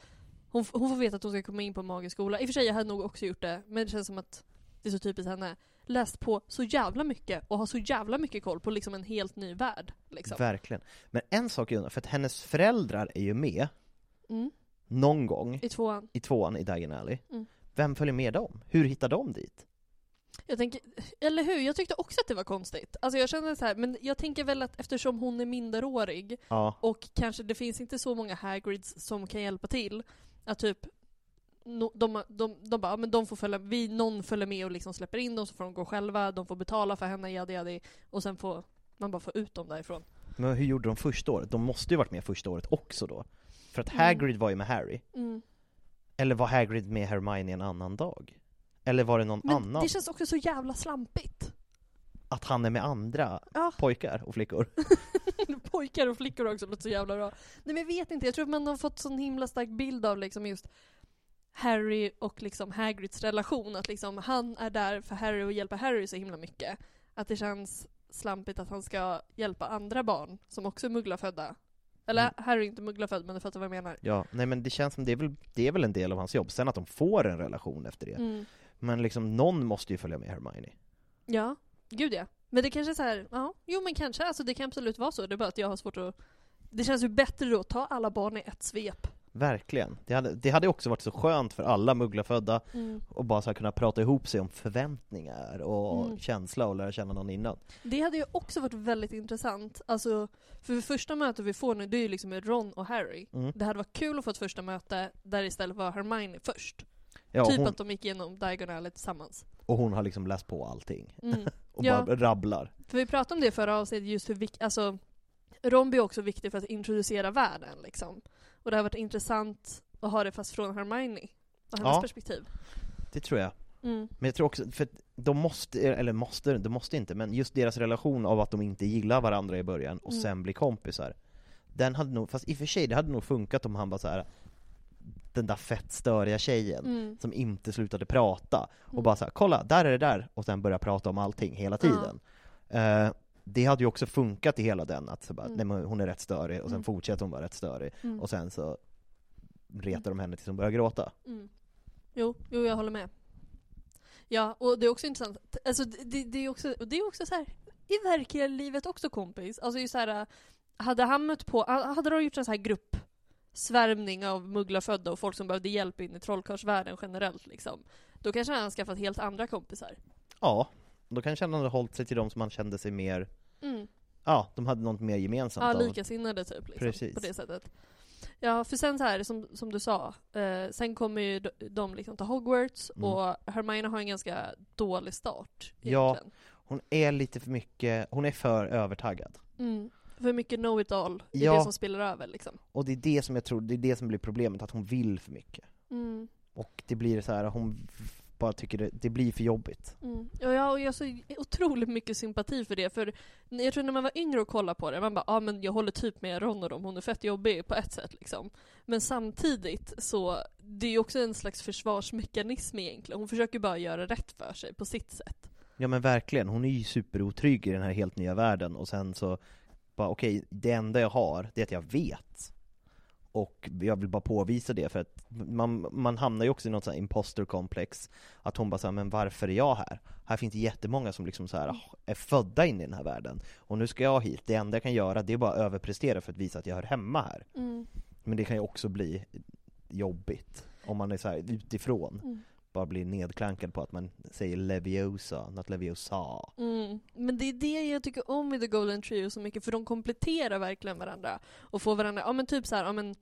hon, f- hon får veta att hon ska komma in på en magisk skola. I och för sig, jag hade nog också gjort det, men det känns som att det är så typiskt henne. Läst på så jävla mycket och har så jävla mycket koll på liksom en helt ny värld. Liksom.
Verkligen. Men en sak jag undrar, för att hennes föräldrar är ju med
Mm.
någon gång
I tvåan.
i tvåan i Diagon Alley.
Mm.
Vem följer med dem? Hur hittar de dit?
Jag tänker, eller hur? Jag tyckte också att det var konstigt. Alltså jag kände så här, men jag tänker väl att eftersom hon är minderårig
Ja.
Och kanske det finns inte så många Hagrids som kan hjälpa till. Att typ, no, de, de, de bara, "Ja, men de får följa, vi, någon följer med och liksom släpper in dem, så får de gå själva, de får betala för henne, jadi jadi. Och sen får man bara få ut dem därifrån.
Men hur gjorde de första året? De måste ju varit med första året också då. För att Hagrid var ju med Harry.
Mm.
Eller var Hagrid med Hermione en annan dag? Eller var det någon
Men
annan?
det känns också så jävla slampigt.
Att han är med andra
Ja.
pojkar och flickor?
Pojkar och flickor också låter så jävla bra. Nej men jag vet inte, jag tror att man har fått sån himla stark bild av liksom just Harry och liksom Hagrids relation. Att liksom han är där för Harry och hjälper Harry så himla mycket. Att det känns slampigt att han ska hjälpa andra barn som också är mugglafödda. Eller
Mm.
Harry är inte mugglafödd men du fattar vad jag menar.
Ja, nej men det känns som det är, väl, det är väl en del av hans jobb. Sen att de får en relation efter det.
Mm.
Men liksom någon måste ju följa med Hermione.
Ja, gud ja. Men det kanske är så här, ja, jo men kanske, alltså det kan absolut vara så. Det är bara att jag har svårt att... Det känns ju bättre då att ta alla barn i ett svep.
Verkligen. Det hade, det hade också varit så skönt för alla mugglafödda och bara så här kunna prata ihop sig om förväntningar och
Mm.
känsla och lära känna någon innan.
Det hade ju också varit väldigt intressant, alltså, för det första mötet vi får nu det är ju liksom med Ron och Harry.
Mm.
Det hade varit kul att få ett första möte där istället var Hermione först.
Ja,
typ
hon,
att de gick igenom Diagon Alley tillsammans.
Och hon har liksom läst på allting.
Mm.
Och
Ja.
bara rabblar.
För vi pratade om det i förra avsnittet, just hur vik- alltså, Rombi är också viktig för att introducera världen liksom. Och det har varit intressant att ha det fast från Hermione och hennes
Ja.
perspektiv.
Det tror jag.
Mm.
Men jag tror också, för att de måste, eller måste, de måste inte, men just deras relation av att de inte gillar varandra i början och
Mm.
sen blir kompisar Den hade nog, fast i och för sig, det hade nog funkat om han var så här. Den där fett störiga tjejen
Mm.
som inte slutade prata och
Mm.
bara så här, kolla, där är det där! Och sen börja prata om allting hela tiden Eh, Det hade ju också funkat i hela den, att så bara,
Mm.
nej men hon är rätt störig och sen
Mm.
fortsätter hon vara rätt störig
Mm.
och sen så retar de henne tills hon börjar gråta
Mm. Jo, jo, jag håller med. Ja, och det är också intressant. Alltså, det- det, det, är också, och det är också så här i verkliga livet också kompis. Alltså just så här, äh, hade han mött på, ha- hade de gjort en så här gruppsvärmning av mugglarfödda och folk som behövde hjälp in i trollkarlsvärlden generellt liksom. Då kanske han skaffat helt andra kompisar.
Ja, då kanske han hade hållit sig till de som han kände sig mer,
Mm.
ja, de hade något mer gemensamt.
Ja,
av-
likasinnade typ. Liksom,
Precis.
På det sättet. Ja, för sen så här som, som du sa, eh, sen kommer ju de, de liksom till Hogwarts
Mm.
och Hermione har en ganska dålig start
Ja.
egentligen.
Hon är lite för mycket, hon är för övertaggad.
Mm. För mycket know it all är
Ja.
det som spiller över liksom.
Och det är det som jag tror, det är det som blir problemet, att hon vill för mycket.
Mm.
Och det blir så här, hon f- bara tycker det, det blir för jobbigt.
Mm. Och jag, och jag har så otroligt mycket sympati för det, för jag tror när man var yngre och kollade på det, man bara ah, men jag håller typ med Ron och dem, hon är fett jobbig på ett sätt liksom. Men samtidigt så, det är ju också en slags försvarsmekanism egentligen. Hon försöker bara göra rätt för sig på sitt sätt.
Ja men verkligen, hon är ju superotrygg i den här helt nya världen och sen så bara okej, det enda jag har, det är att jag vet. Och jag vill bara påvisa det för att man, man hamnar ju också i något sånt här imposterkomplex Att hon bara säger men varför är jag här? Här finns det jättemånga som liksom så här "Ah, är födda in i den här världen Och nu ska jag hit, det enda jag kan göra det är bara att överprestera för att visa att jag hör hemma här Men det kan ju också bli jobbigt om man är så här utifrån bara blir nedklankad på att man säger Leviosa, not Leviosa.
Mm. Men det är det jag tycker om i The Golden Trio så mycket, för de kompletterar verkligen varandra. Och får varandra, ja men typ så här, ja men,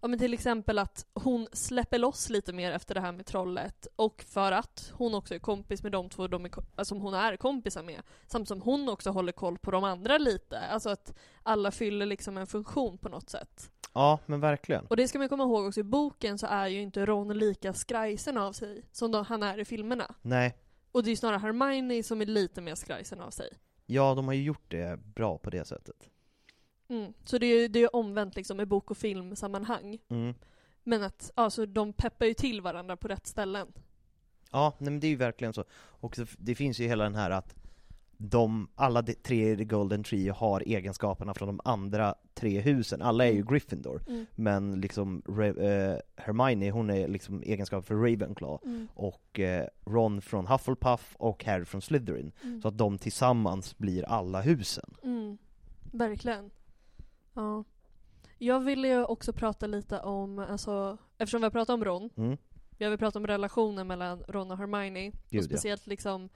ja men till exempel att hon släpper loss lite mer efter det här med trollet. Och för att hon också är kompis med de två de är, ko- alltså, som hon är kompisar med. Samt som hon också håller koll på de andra lite. Alltså att alla fyller liksom en funktion på något sätt.
Ja, men verkligen.
Och det ska man komma ihåg också, i boken så är ju inte Ron lika skrajsen av sig som de, han är i filmerna.
Nej,
Och det är ju snarare Hermione som är lite mer skrajsen av sig.
ja de har ju gjort det bra på det sättet.
Mm. Så det är ju det är ju omvänt liksom i bok och filmsammanhang.
Mm.
Men att alltså, de peppar ju till varandra på rätt ställen.
Ja, nej, men det är ju verkligen så. Och så- det finns ju hela den här att de, alla de tre i The Golden Tree har egenskaperna från de andra tre husen. Alla är ju Gryffindor.
Mm.
Men liksom Re- eh, Hermione, hon är liksom egenskap för Ravenclaw.
Mm.
Och eh, Ron från Hufflepuff och Harry från Slytherin. Så att de tillsammans blir alla husen.
Mm. Verkligen. Ja. Jag ville ju också prata lite om, alltså, eftersom vi har pratat om Ron,
Mm.
jag vill prata om relationen mellan Ron och Hermione.
Gud, ja.
och speciellt liksom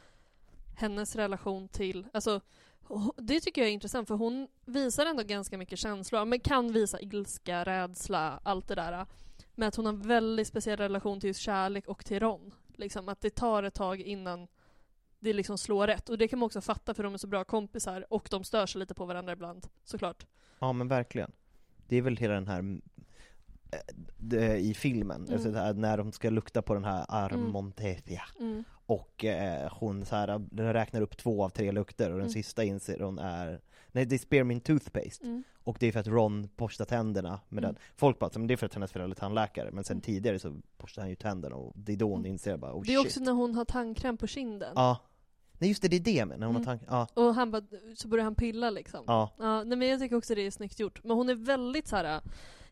hennes relation till, alltså ho- det tycker jag är intressant för hon visar ändå ganska mycket känslor, men kan visa ilska, rädsla, allt det där. Men att hon har en väldigt speciell relation till just kärlek och till Ron. Liksom att det tar ett tag innan det liksom slår rätt. Och det kan man också fatta för de är så bra kompisar och de stör sig lite på varandra ibland, såklart.
Ja men verkligen. Det är väl hela den här eh, det- i filmen, alltså det här, när de ska lukta på den här Armontepia
Mm.
och eh, hon så här, den räknar upp två av tre lukter och den
Mm.
sista inser hon är, nej det är Spearmint Toothpaste och det är för att Ron borstar tänderna med
Mm.
den. Folk bara, men det är för att hennes föräldrar är tandläkare men sen tidigare så borstar han ju tänderna och det är då hon inser bara oh,
Mm. det är
shit.
också när hon har tandkräm på kinden.
Ja. Nej just det, det är det men när hon
Mm.
har tank... Ja.
Och han bara, så börjar han pilla liksom.
Ja.
nej, men jag tycker också det är snyggt gjort. Men hon är väldigt så här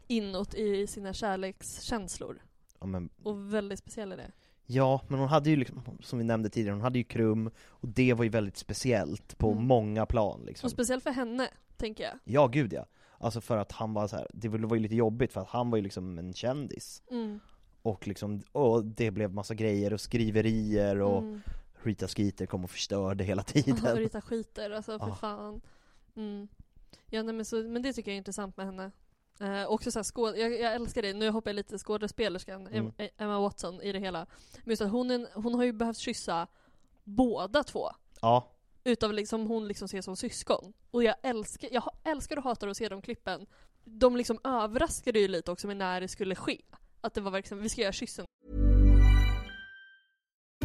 inåt i sina kärlekskänslor.
ja men
Och väldigt speciell i det.
Ja, men hon hade ju liksom, som vi nämnde tidigare, hon hade ju krum, och det var ju väldigt speciellt på
Mm.
många plan liksom.
Och speciellt för henne, tänker jag.
Ja, gud ja. Alltså för att han var så här, det var ju lite jobbigt för att han var ju liksom en kändis.
Mm.
Och liksom, och det blev massa grejer och skriverier och
Mm.
Rita Skeeter kom och förstörde hela tiden.
Och Rita skiter, alltså för
Ja.
fan. Mm. Ja, nej, men, så, men det tycker jag är intressant med henne. Eh, också så här, skåd- jag, jag älskar det, nu hoppar jag lite skådespelerskan,
Mm.
Em- Emma Watson i det hela. Men just att hon, är, en- hon har ju behövt kyssa båda två.
Ja,
Utav liksom hon liksom ser som syskon. Och jag älskar, jag ha- älskar och hatar att se de klippen. De liksom överraskade ju lite också med när det skulle ske. Att det var verkligen, vi ska göra kyssen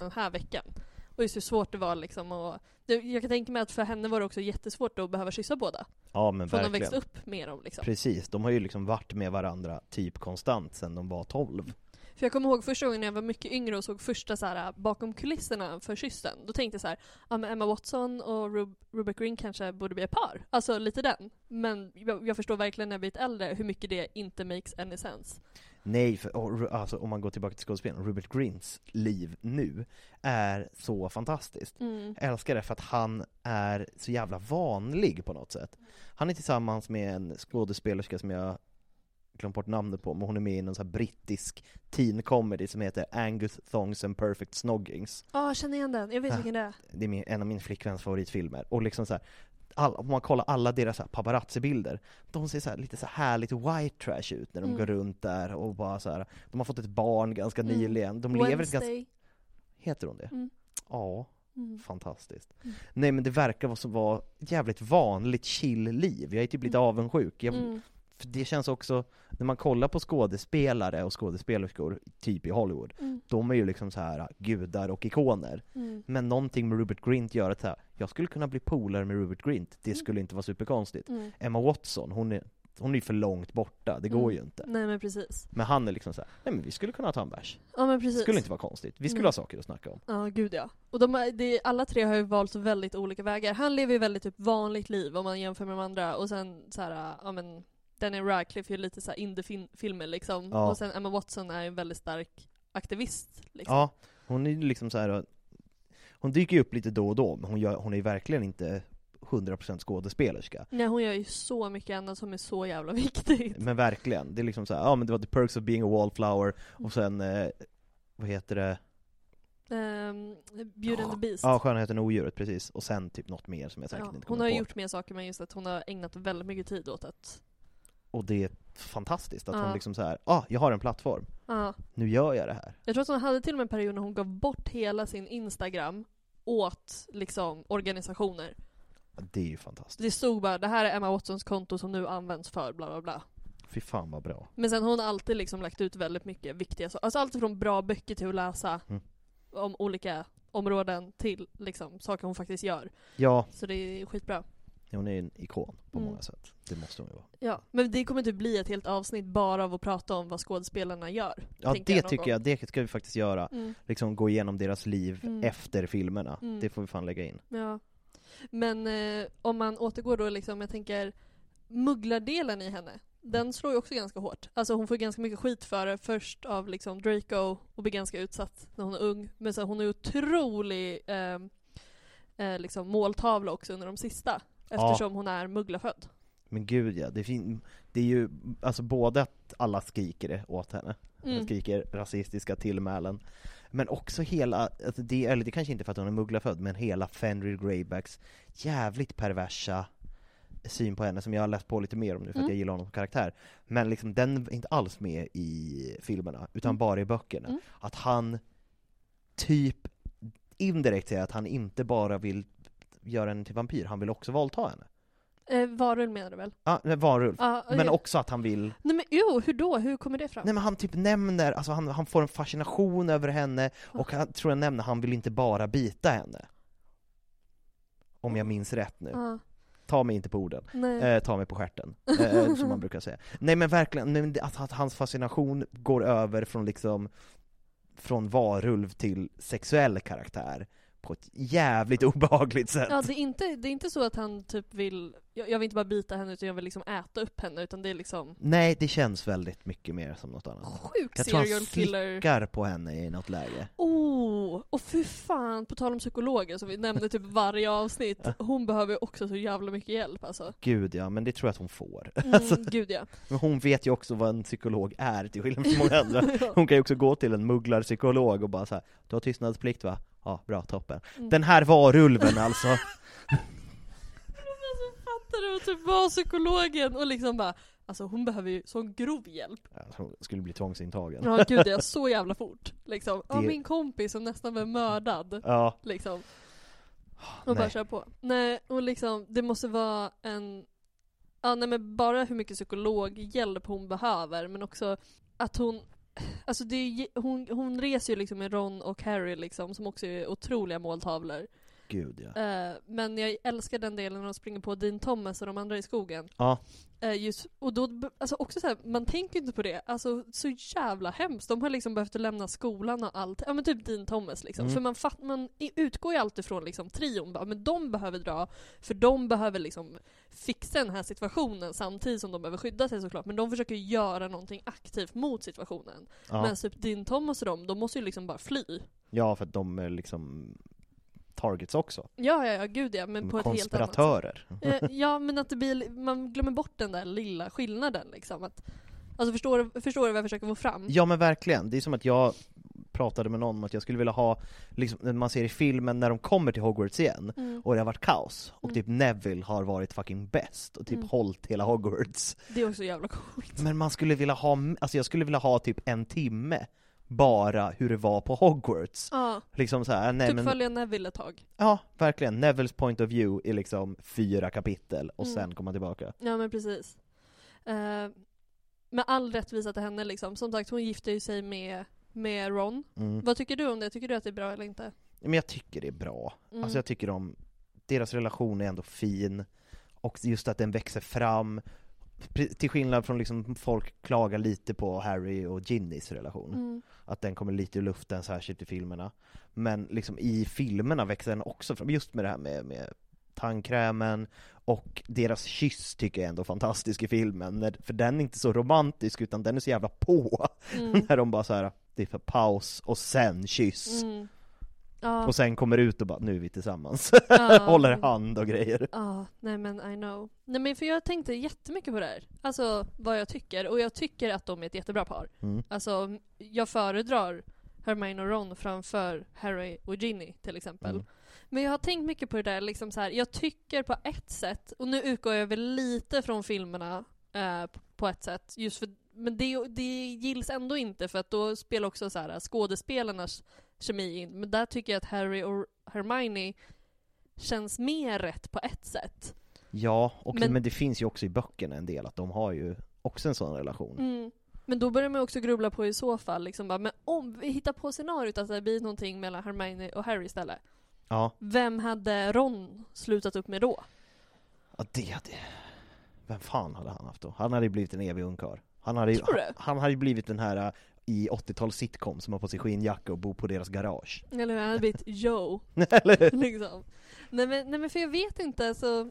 den här veckan. Och just hur svårt det var liksom att... det- Jag kan tänka mig att för henne var det också jättesvårt att behöva kyssa båda.
ja men
Från att
verkligen.
växa upp med dem liksom.
Precis, de har ju liksom varit med varandra typ konstant sedan de var 12.
För jag kommer ihåg första gången när jag var mycket yngre och såg första så här äh, bakom kulisserna för kyssen. Då tänkte jag så här, ja men Emma Watson och Rub- Rupert Green kanske borde bli ett par. Alltså lite den. Men jag, jag förstår verkligen när jag blivit äldre hur mycket det inte makes any sense.
Nej, för, och, Ru- alltså, om man går tillbaka till skådespelaren, Rupert Greens liv nu är så fantastiskt.
Mm.
Jag älskar det för att han är så jävla vanlig på något sätt. Han är tillsammans med en skådespelerska som jag glömt bort namnet på, men hon är med i någon sån här brittisk teen comedy som heter Angus Thongs and Perfect Snoggings.
Ja, känner igen den. Jag vet
Ah.
vilken det är.
Det är min, en av min flickväns favoritfilmer. Och liksom så här, all, om man kollar alla deras så här paparazzi-bilder, de ser så här, lite så här härligt white trash ut när de
Mm.
går runt där och bara så här. De har fått ett barn ganska
Mm.
nyligen. De lever ett ganska...
Wednesday.
Heter hon det?
Mm.
Ja,
Mm.
fantastiskt.
Mm.
Nej men det verkar vara så- vara ett jävligt vanligt chill-liv. Jag är typ lite avundsjuk. Jag,
Mm.
för det känns också, när man kollar på skådespelare och skådespelerskor, typ i Hollywood,
Mm.
de är ju liksom så här gudar och ikoner.
Mm.
Men någonting med Rupert Grint gör att så här, jag skulle kunna bli polare med Rupert Grint, det skulle inte vara superkonstigt.
Mm.
Emma Watson, hon är, hon är ju för långt borta, det går
Mm.
ju inte.
Nej men precis.
Men han är liksom så här, nej men vi skulle kunna ta en bärs.
Ja men
Det
precis. Mm.
skulle inte vara konstigt, vi skulle
Nej.
ha saker att snacka om.
Ja, gud ja. Och de, har- det, alla tre har ju valt väldigt olika vägar. Han lever ju väldigt typ vanligt liv om man jämför med de andra. Och sen så här, ja men Daniel Radcliffe är ju lite så här indie-filmer liksom.
Ja.
Och sen Emma Watson är ju en väldigt stark aktivist. Liksom.
Ja, hon är ju liksom så här. hon dyker ju upp lite då och då, men hon, gör, hon är ju verkligen inte 100% skådespelerska.
Nej, hon gör ju så mycket annat som är så jävla viktigt.
Men verkligen, det är liksom så här, ja men det var the perks of being a wallflower, och sen,
Mm.
eh, vad heter det?
Um, Beauty and the Beast.
Ja, Skönheten och odjuret, precis. Och sen typ något mer som jag säkert
Ja,
inte
hon
kommer
har
på.
ju gjort mer saker men just att hon har ägnat väldigt mycket tid åt att,
Och det är fantastiskt att
Ja.
hon liksom så här, ah, jag har en plattform,
ja.
nu gör jag det här.
Jag tror att hon hade till och med en period när hon gav bort hela sin Instagram åt liksom organisationer.
Ja, Det är ju fantastiskt.
Det stod bara det här är Emma Watsons konto som nu används för bla bla bla.
Fy fan vad bra.
Men sen har hon alltid liksom lagt ut väldigt mycket viktiga saker. Alltså allt från bra böcker till att läsa
Mm.
om olika områden till liksom saker hon faktiskt gör.
Ja,
Så det är skitbra.
hon är en ikon på
Mm.
många sätt. Det måste hon ju vara.
Ja, men det kommer typ bli ett helt avsnitt bara av att prata om vad skådespelarna gör.
Ja,
tänker
det
någon
tycker
gång.
jag, det ska vi faktiskt göra.
Mm.
Liksom gå igenom deras liv
Mm.
efter filmerna.
Mm.
Det får vi fan lägga in.
Ja. Men eh, om man återgår då liksom, jag tänker mugglardelen i henne. Den slår ju också ganska hårt. Alltså hon får ganska mycket skit för det. Först av liksom Draco och blir ganska utsatt när hon är ung. Men sen hon är otrolig ehm, eh, eh, liksom måltavla också under de sista. Eftersom hon är mugglafödd.
Men gud ja, det, fin- det är ju alltså både att alla skriker det åt henne,
Mm.
skriker rasistiska tillmälen, men också hela, alltså det, eller det kanske inte är för att hon är mugglafödd, men hela Fenrir Greybacks jävligt perversa syn på henne som jag har läst på lite mer om nu för att
Mm.
jag gillar honom som karaktär. Men liksom den är inte alls med i filmerna, utan bara i böckerna.
Mm.
Att han typ indirekt säger att han inte bara vill göra henne till vampyr, han vill också våldta henne.
Eh, varulv menar du väl?
Ja, ah, varulv.
Ja, och
Men
jag-
också att han vill
Nej men jo, hur då? Hur kommer det fram?
Nej men han typ nämner, alltså han, han får en fascination över henne och han tror jag nämner, han vill inte bara bita henne. Om jag minns rätt nu.
Ja.
Ta mig inte på orden.
Nej.
Eh, ta mig på stjärten. Eh, som man brukar säga. Nej men verkligen, nej, men det- att, att hans fascination går över från liksom från varulv till sexuell karaktär på ett jävligt obehagligt sätt.
Ja, det är, inte, det är inte så att han typ vill, jag, jag vill inte bara bita henne utan jag vill liksom äta upp henne utan det är liksom
Nej, det känns väldigt mycket mer som något annat.
Sjuk
Jag tror han
serial killer.
slickar på henne i något läge.
Oh, och fy fan, på tal om psykologer som vi nämnde typ varje avsnitt, hon behöver också så jävla mycket hjälp alltså.
Gud ja, men det tror jag att hon får.
Mm,
Alltså,
gud ja.
Men hon vet ju också vad en psykolog är till skillnad från många andra. Hon kan ju också gå till en mugglarpsykolog och bara så här, du har tystnadsplikt va? Ja, bra, toppen.
Mm.
Den här varulven alltså.
Fattar du? Och typ var psykologen och liksom bara, alltså hon behöver ju sån grov hjälp.
Ja, Alltså, Hon skulle bli tvångsintagen.
Ja gud jag så jävla fort. Liksom, ja
Det-
min kompis som nästan blev mördad.
Ja.
Liksom.
nej.
Och bara kör på. Nej, och liksom det måste vara en, ja nej men bara hur mycket psykologhjälp hon behöver men också att hon Alltså det är, ju- hon, hon reser ju liksom med Ron och Harry liksom, som också är otroliga måltavlor.
Gud ja.
Eh, men jag älskar den delen när de springer på Dean Thomas och de andra i skogen.
Ja.
Eh, just, och då, b- alltså också så här, man tänker inte på det. Alltså så jävla hemskt. De har liksom behövt lämna skolan och allt. Ja men typ Dean Thomas liksom.
Mm.
För man, fatt, man i- utgår ju alltid från liksom trion. Bara, Men de behöver dra, för de behöver liksom fixa den här situationen samtidigt som de behöver skydda sig såklart. Men de försöker ju göra någonting aktivt mot situationen.
Ja.
Men typ Dean Thomas och de, de måste ju liksom bara fly.
Ja, för att de är liksom targets också.
Ja, ja, ja, gud ja, men
De är
på ett helt annat sätt.
konspiratörer.
Eh, ja, men att det blir, man glömmer bort den där lilla skillnaden liksom. Att, alltså förstår, du- förstår du vad jag försöker få fram?
Ja men verkligen, det är som att jag pratade med någon om att jag skulle vilja ha, liksom, när man ser i filmen när de kommer till Hogwarts igen,
Mm.
och det har varit kaos, och
Mm.
typ Neville har varit fucking bäst, och typ
Mm.
hållit hela Hogwarts.
Det är också jävla coolt.
Men man skulle vilja ha, alltså jag skulle vilja ha typ en timme, bara hur det var på Hogwarts.
Ja.
Liksom så här, nej
typ
men
följa Neville ett tag.
Ja, verkligen. Nevilles point of view är liksom fyra kapitel, och
Mm.
sen komma tillbaka.
Ja men precis. Eh, med all rättvisa till henne liksom. Som sagt, hon gifte ju sig med, med Ron.
Mm.
Vad tycker du om det? Tycker du att det är bra eller inte?
Men jag tycker det är bra.
Mm.
Alltså jag tycker om, deras relation är ändå fin, och just att den växer fram, Pre- till skillnad från liksom folk klagar lite på Harry och Ginnys relation.
Mm.
Att den kommer lite i luften, särskilt i filmerna. Men liksom i filmerna växer den också fram, just med det här med, med tandkrämen, och deras kyss tycker jag ändå är fantastisk i filmen, när, för den är inte så romantisk utan den är så jävla på.
Mm.
när de bara så här, det är för paus, och sen kyss.
Mm. Ja.
Och sen kommer ut och bara, nu är vi tillsammans.
Ja.
Håller hand och grejer.
Ja, nej men I know. Nej men för jag tänkte jättemycket på det här. Alltså vad jag tycker. Och jag tycker att de är ett jättebra par.
Mm.
Alltså jag föredrar Hermione och Ron framför Harry och Ginny till exempel.
Mm.
Men jag har tänkt mycket på det där liksom så här. jag tycker på ett sätt, och nu utgår jag väl lite från filmerna eh, p- på ett sätt, just för, men det, det gills ändå inte för att då spelar också så här, eh, skådespelarnas kemi in. Men där tycker jag att Harry och Hermione känns mer rätt på ett sätt.
Ja, och, men...
Men-
det finns ju också i böckerna en del att de har ju också en sån relation.
Mm. Men då börjar man också grubbla på i så fall, liksom bara, men om vi hittar på scenariot att det blir någonting mellan Hermione och Harry istället.
Ja,
Vem hade Ron slutat upp med då?
ja det, det. Vem fan hade han haft då? Han hade ju blivit en evig ungkarl. Han hade ju,
Tror du?
han, han hade ju blivit den här äh, i 80-tals sitcom som har på sig skinnjacka och bor på deras garage.
Eller hur? Han hade blivit Joe.
Eller hur?
liksom. nej, men, nej men för jag vet inte, alltså.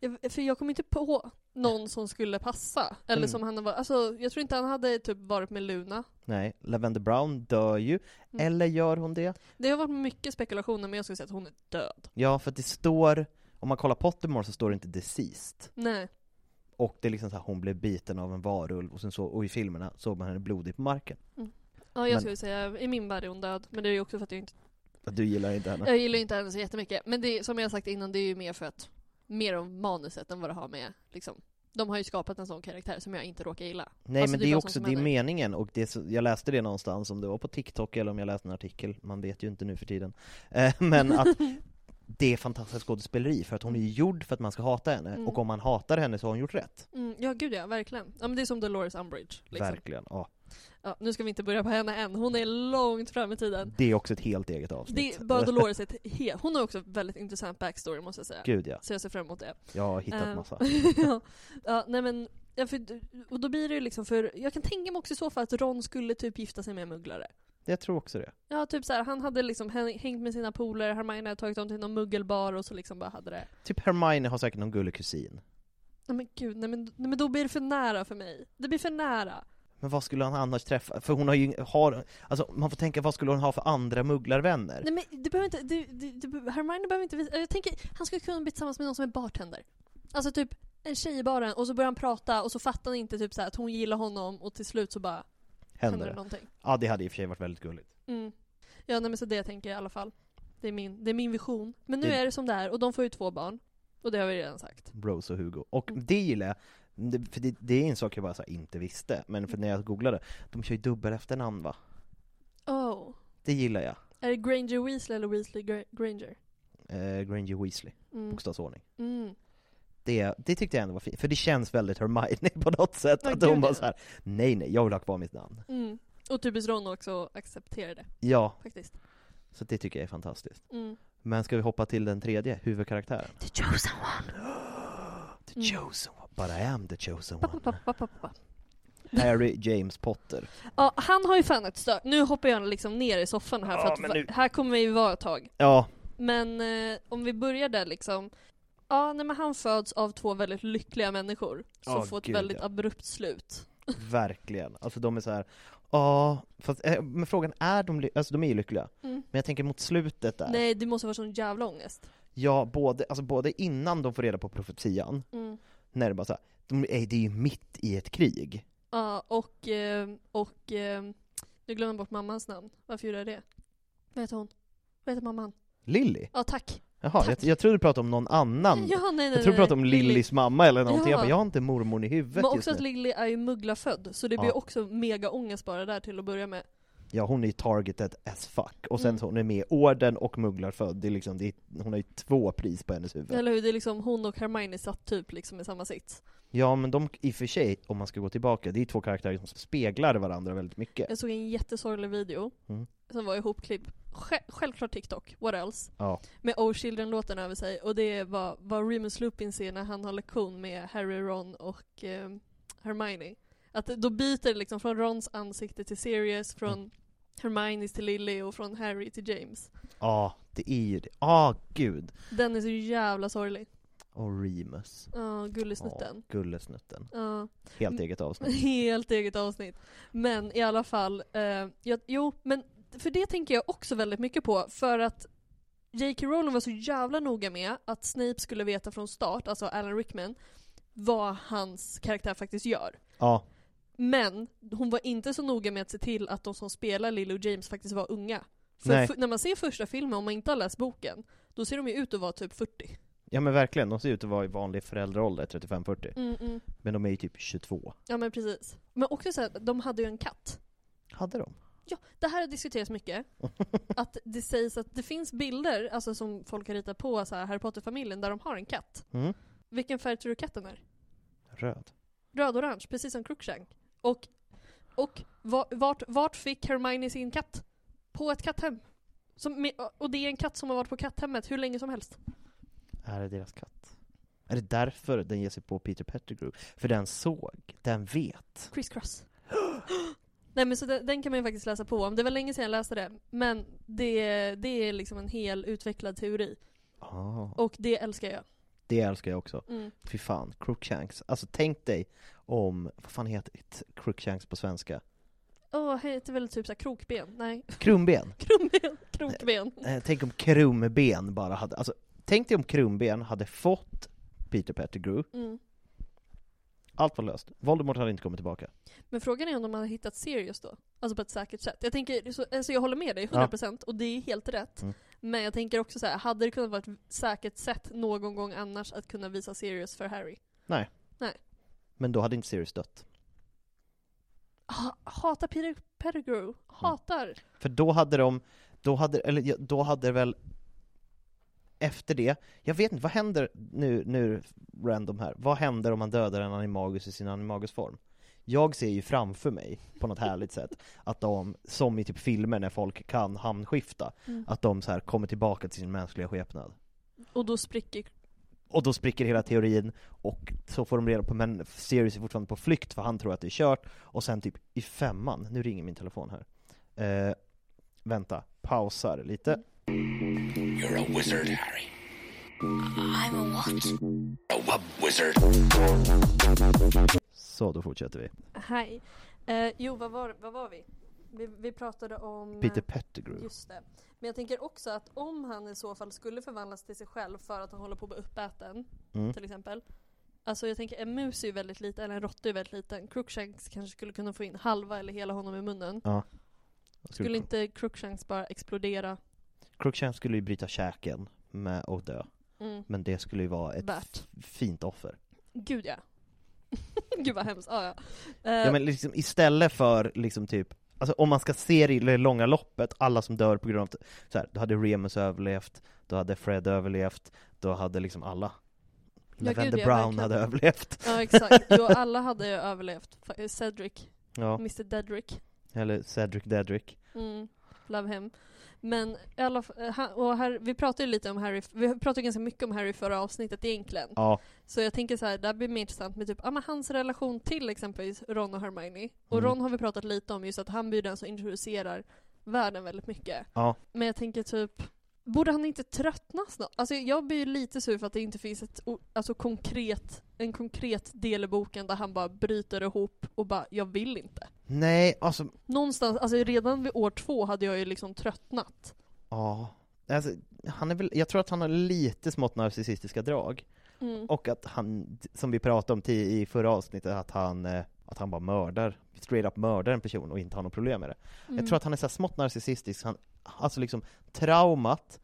Jag, för jag kom inte på någon som skulle passa. Eller
Mm.
som han var, alltså jag tror inte han hade typ varit med Luna.
Nej, Lavender Brown dör ju.
Mm.
Eller gör hon det?
Det har varit mycket spekulationer men jag skulle säga att hon är död.
Ja, för att det står, Om man kollar Pottermore så står det inte deceased.
Nej.
Och det är liksom så här, hon blev biten av en varulv och sen så, och i filmerna såg man henne blodig på marken.
Ja, jag
Men-
skulle säga, i min värld är hon död. Men det är ju också för att jag inte
Du gillar inte henne?
Jag gillar ju inte henne så jättemycket. Men det, är- som jag sagt innan, det är ju mer för att mer om manuset än vad det har med liksom. De har ju skapat en sån karaktär som jag inte råkar gilla.
Nej
Alltså,
men det är
bara
också,
sånt
det
som
är
händer.
meningen och det är så, jag läste det någonstans, om det var på TikTok eller om jag läste en artikel, man vet ju inte nu för tiden eh, Men att det är fantastiskt skådespeleri för att hon är ju gjord för att man ska hata henne
Mm.
och om man hatar henne så har hon gjort rätt
Mm, ja gud ja, verkligen. Ja men det är som Dolores Umbridge. Liksom.
Verkligen, ja
Ja, nu ska vi inte börja på henne än, hon är långt fram i tiden.
Det är också ett helt eget
Det,
avsnitt
bara Dolores är ett he- Hon har också väldigt intressant backstory måste jag säga.
Gud, ja.
Så jag ser fram emot det.
Jag har hittat
Eh,
massa
ja. ja, nej men, ja, för, och då blir det ju liksom för, jag kan tänka mig också i så fall att Ron skulle typ gifta sig med en mugglare.
Jag tror också det
Ja, typ såhär, han hade liksom häng- hängt med sina polare, Hermione hade tagit dem till någon muggelbar och så liksom bara hade det.
Typ Hermione har säkert någon gullig kusin
Nej men gud, nej men, nej, men då blir det för nära för mig. Det blir för nära.
Men vad skulle han annars träffa? För hon har ju, har, alltså man får tänka vad skulle hon ha för andra mugglarvänner?
Nej men det behöver inte, det, det, det, be- Hermione behöver inte visa, jag tänker, han skulle kunna bli tillsammans med någon som är bartender. Alltså typ en tjej i baren och så börjar han prata och så fattar han inte typ såhär att hon gillar honom och till slut så bara
Händer
händer det
det?
någonting.
Ja det hade i och för sig varit väldigt gulligt
Mm. Ja nej men så det tänker jag i alla fall. Det är min, det är min vision. Men nu
Det-
är det som det är och de får ju två barn. Och det har vi redan sagt.
Rose och Hugo. Och
Mm.
det gillar jag, Det- för det, det är en sak jag bara så här, inte visste, men
Mm.
för när jag googlade, de kör ju dubbel efternamn va?
Oh.
Det gillar jag.
Är det Granger Weasley eller Weasley Gra- Granger?
Eh, Granger Weasley,
Mm.
bokstavsordning.
Mm.
Det, det tyckte jag ändå var fint, för det känns väldigt Hermione på något sätt,
Ja,
att
gud,
hon bara
ja.
så här, nej nej, jag vill ha kvar mitt namn.
Mm. Och typiskt Ron också att acceptera det,
Ja,
faktiskt.
så det tycker jag är fantastiskt.
Mm.
Men ska vi hoppa till den tredje, huvudkaraktären?
The chosen one!
The chosen one, but I am the chosen
Pa,
one.
pa, pa, pa, pa, pa.
Harry James Potter.
Ja, han har ju fan ett stök. Nu hoppar jag liksom ner i soffan här för
Ja,
att
men
va-
nu-
här kommer vi ju vara ett tag.
Ja,
Men eh, om vi börjar där liksom. Ja, nej, men han föds av två väldigt lyckliga människor som
Ja,
får ett
gud,
väldigt
ja.
abrupt slut.
Verkligen, alltså de är så här. ja, fast eh, men frågan är de, ly- alltså de är ju lyckliga,
Mm.
men jag tänker mot slutet där,
Nej, det måste vara sån jävla ångest.
ja både, alltså både innan de får reda på profetian,
Mm.
när det bara såhär, de är, det är ju mitt i ett krig.
Ja, och, eh, och eh, nu glömmer jag bort mammans namn. Varför gjorde jag det? Vad heter hon? Vad heter mamman?
Lilly?
Ja, tack.
Jaha, jag, jag trodde du pratade om någon annan.
Ja, nej, nej,
jag tror du
nej.
pratade om Lillys mamma eller någonting, jag
Ja.
bara, jag har inte mormor i
Men
huvudet
också
just
att
nu.
Lilly är ju mugglafödd, så det blir
Ja.
också mega ångest bara där till att börja med.
Ja, hon är ju targeted as fuck. Och sen
Mm.
så hon är med i Orden och Mugglarfödd, det är liksom, det är, hon har ju två pris på hennes huvud.
Eller hur? Det är liksom hon och Hermione satt typ liksom i samma sits.
Ja men de, i och för sig, om man ska gå tillbaka, det är två karaktärer som speglar varandra väldigt mycket.
Jag såg en jättesorglig video
Mm.
som var ihopklipp, Sj- självklart TikTok, what else?
Ja.
Med Oh Children-låten över sig och det är vad, vad Remus Lupin ser när han har lektion med Harry, Ron och eh, Hermione. Att då byter det liksom från Rons ansikte till Sirius, från Hermione's till Lily och från Harry till James.
Ja, det är ju det. Ah, gud!
Den är så jävla sorglig.
Och Remus.
Ja,
Ja,
gullesnutten.
gullesnutten.
Ja.
Helt eget avsnitt.
Helt eget avsnitt. Men i alla fall, eh, jag, jo men för det tänker jag också väldigt mycket på för att J.K. Rowling var så jävla noga med att Snape skulle veta från start, alltså Alan Rickman, vad hans karaktär faktiskt gör.
Ja,
Men hon var inte så noga med att se till att de som spelar Lily och James faktiskt var unga. För
Nej.
fu- när man ser första filmen, om man inte har läst boken, då ser de ju ut att vara typ 40.
ja men verkligen. De ser ut att vara i vanlig föräldraålder, 35-40.
Mm, mm.
Men de är ju typ 22.
Ja men precis. Men också såhär, de hade ju en katt.
Hade de?
Ja, det här har diskuterats mycket. Att det sägs att det finns bilder, alltså som folk har ritat på så här, Harry Potter-familjen, där de har en katt.
Mm.
Vilken färg tror du katten är?
Röd.
Röd-orange, precis som Crookshank. Och, och va- vart, vart fick Hermione sin katt? På ett katthem. Som, med- och det är en katt som har varit på katthemmet hur länge som helst.
Är det deras katt? Är det därför den ger sig på Peter Pettigrew? För den såg, den vet.
Criss Cross. Nej men så den, den kan man ju faktiskt läsa på om. Det var länge sedan jag läste det. Men det, det är liksom en hel utvecklad teori.
Ah,
Och det älskar jag.
det älskar jag också.
Mm.
Fy fan, Crookshanks. Alltså tänk dig om, vad fan heter det? Crookshanks på svenska?
Åh, det heter väl typ såhär krokben? Nej.
Krumben!
Krumben, krokben.
Eh, tänk om Krumben bara hade, alltså Tänk dig om Krumben hade fått Peter Pettigrew,
Mm.
allt var löst. Voldemort hade inte kommit tillbaka.
Men frågan är om de hade hittat Sirius då? Alltså på ett säkert sätt. Jag tänker, så, alltså jag håller med dig 100% och det är helt rätt.
Mm.
Men jag tänker också så här, hade det kunnat vara ett säkert sätt någon gång annars att kunna visa Sirius för Harry?
Nej.
Nej.
Men då hade inte Sirius dött.
Ha, hatar Peter Pettigrew. Hatar.
För då hade de, då hade, eller ja, då hade väl efter det, jag vet inte, vad händer nu, nu random här, vad händer om man dödar en animagus i sin animagusform? Jag ser ju framför mig, på något härligt sätt, att de, som i typ filmer när folk kan hamnskifta,
Mm.
att de så här kommer tillbaka till sin mänskliga skepnad.
Och då spricker...
Och då spricker hela teorin, och så får de reda på, men Sirius är fortfarande på flykt för han tror att det är kört, och sen typ i femman, nu ringer min telefon här. Eh, vänta, pausar lite.
Mm.
You're a wizard, Harry.
I'm a what?
A wub wizard.
Så, då fortsätter vi.
Hej. Eh, jo, vad var, vad var vi? vi? Vi pratade om...
Peter Pettigrew.
Just det. Men jag tänker också att om han i så fall skulle förvandlas till sig själv för att han håller på att bli uppäten,
Mm.
till exempel. Alltså jag tänker en mus är ju väldigt liten, eller en råtta är väldigt liten. Crookshanks kanske skulle kunna få in halva eller hela honom i munnen.
Ja.
Skulle inte Crookshanks bara explodera?
Crookshanks skulle ju bryta käken med och dö.
Mm.
Men det skulle ju vara ett
Värt.
f- fint offer.
Gud ja. Gud vad hemskt. Ah, ja.
Ja men liksom istället för liksom typ, alltså om man ska se det i det långa loppet, alla som dör på grund av, t- så här, då hade Remus överlevt, då hade Fred överlevt, då hade liksom alla
gud,
Lavender
ja,
Brown
verkligen.
hade överlevt.
Ja exakt. Jo alla hade ju överlevt. Fa- Cedric.
Ja,
Mr Dedrick.
eller Cedric Dedrick.
Mm, love him. Men i alla f- eh, han- och här, vi pratade ju lite om Harry, vi pratade ganska mycket om Harry i förra avsnittet egentligen.
Ja,
Så jag tänker så här, det här blir mer intressant med typ, ja, men hans relation till exempelvis Ron och Hermione. Och
Mm.
Ron har vi pratat lite om just att han blir den som introducerar världen väldigt mycket.
ja.
Men jag tänker typ, borde han inte tröttna snart? Alltså jag blir ju lite sur för att det inte finns ett, o- alltså konkret, en konkret del i boken där han bara bryter ihop och bara, jag vill inte.
Nej, alltså,
Någonstans, alltså redan vid år två hade jag ju liksom tröttnat.
ja. Alltså, han är väl, jag tror att han har lite smått narcissistiska drag.
Mm.
Och att han, som vi pratade om ti- i förra avsnittet, att han, eh, att han bara mördar, straight up mördar en person och inte har något problem med det.
Mm.
Jag tror att han är så här smått narcissistisk, han, alltså liksom traumat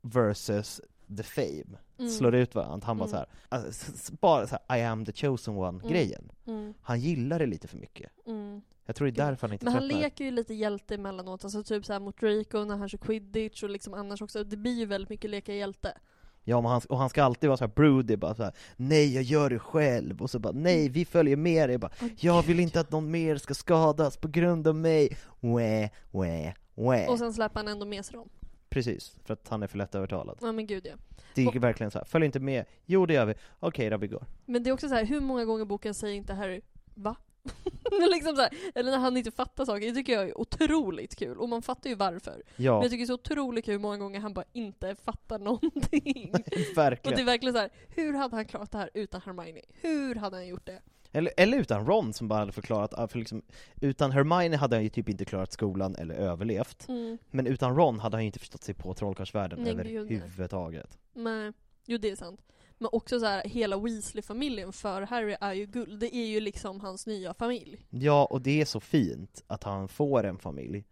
versus the fame
Mm.
slår ut varandra. Han bara
Mm.
så här, alltså, s- s- bara så här, I am the chosen one-grejen.
Mm.
Han gillar det lite för mycket.
Mm.
Jag tror det är därför han inte
Men han
tröttnar.
leker ju lite hjälte emellanåt, alltså typ såhär mot Draco när han kör quidditch och liksom annars också. Det blir ju väldigt mycket leka hjälte.
Ja, men han, och han ska alltid vara så här broody, bara så här, nej jag gör det själv, och så bara nej vi följer med dig, bara, jag vill inte att någon mer ska skadas på grund av mig, wä, wä, wä.
Och sen släpper han ändå med sig dem.
Precis, för att han är för lätt övertalad.
Ja men gud ja.
Det
Och-
är verkligen så här, följ inte med, jo det gör vi, okej då vi går.
Men det är också så här, hur många gånger i boken säger inte Harry va? Det är liksom så här, eller när han inte fattar saker, det tycker jag är otroligt kul. Och man fattar ju varför. Men
Ja,
jag tycker det är så otroligt kul hur många gånger han bara inte fattar någonting. Och det är
verkligen.
verkligen så här, hur hade han klarat det här utan Hermione? Hur hade han gjort det?
Eller, eller utan Ron som bara hade förklarat, ah, för liksom, utan Hermione hade han ju typ inte klarat skolan eller överlevt,
Mm.
men utan Ron hade han ju inte förstått sig på trollkarlsvärlden
Nej, gud, nej.
överhuvudtaget.
Nej, jo det är sant. Men också så här, hela Weasley-familjen för Harry är ju guld. Det är ju liksom hans nya familj.
Ja, och det är så fint att han får en familj.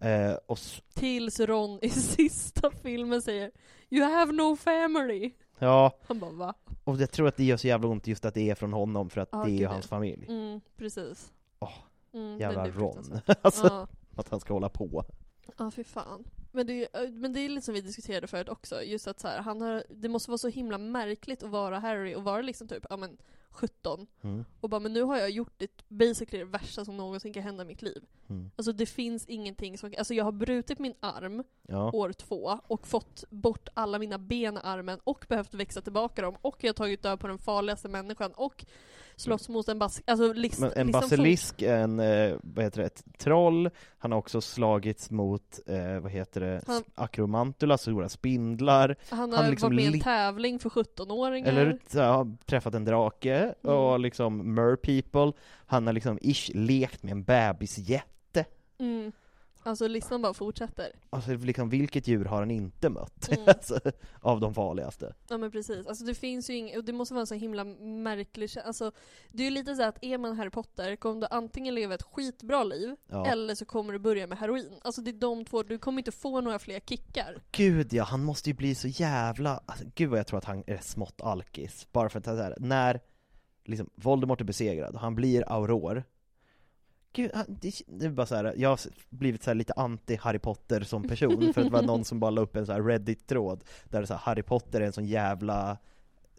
Eh, och s-
Tills Ron i sista filmen säger You have no family.
ja,
Han bara va?
och jag tror att det gör så jävla ont just att det är från honom för att
Ja,
det är ju
gud,
hans
ja.
familj.
Mm, precis.
Åh,
Mm,
Jävla
den är
Ron.
fruktansvärd.
alltså,
Ja,
att han ska hålla på.
ja fy fan. Men det, är, ju- men det är lite som vi diskuterade förut också, just att så här, han har, det måste vara så himla märkligt att vara Harry och vara liksom typ, ja men 17
Mm.
och bara men nu har jag gjort det basically det värsta som någonsin kan hända i mitt liv.
Mm.
Alltså det finns ingenting som, alltså jag har brutit min arm
Ja.
år två och fått bort alla mina ben i armen och behövt växa tillbaka dem och jag har tagit död på den farligaste människan och slåss mot en bas alltså list,
Mm. Men en
listan
basilisk, en, eh, vad heter det, ett troll, han har också slagits mot, eh, vad heter det,
Han-
akromantula, stora spindlar,
forts- Han har
han liksom
varit med i en
li-
tävling för 17-åringar.
eller hur? Så jag har träffat en drake,
Mm.
och liksom mer people, han har liksom ish lekt med en bebisjet.
Mm. Alltså listan bara fortsätter.
Alltså liksom, vilket djur har han inte mött?
Mm.
alltså, av de farligaste.
Ja men precis. Alltså det finns ju ing- och det måste vara en så himla märklig kä- Alltså det är ju lite så här att är man Harry Potter kommer du antingen leva ett skitbra liv,
Ja.
eller så kommer du börja med heroin. Alltså det är de två, du kommer inte få några fler kickar.
Gud ja, han måste ju bli så jävla, alltså, gud vad jag tror att han är smått alkis. Bara för att så här, när liksom, Voldemort är besegrad och han blir auror. Gud, han, det, det är bara så här, jag har blivit så här lite anti-Harry Potter som person för att det var någon som bara la upp en så här Reddit-tråd där det så här, Harry Potter är en sån jävla,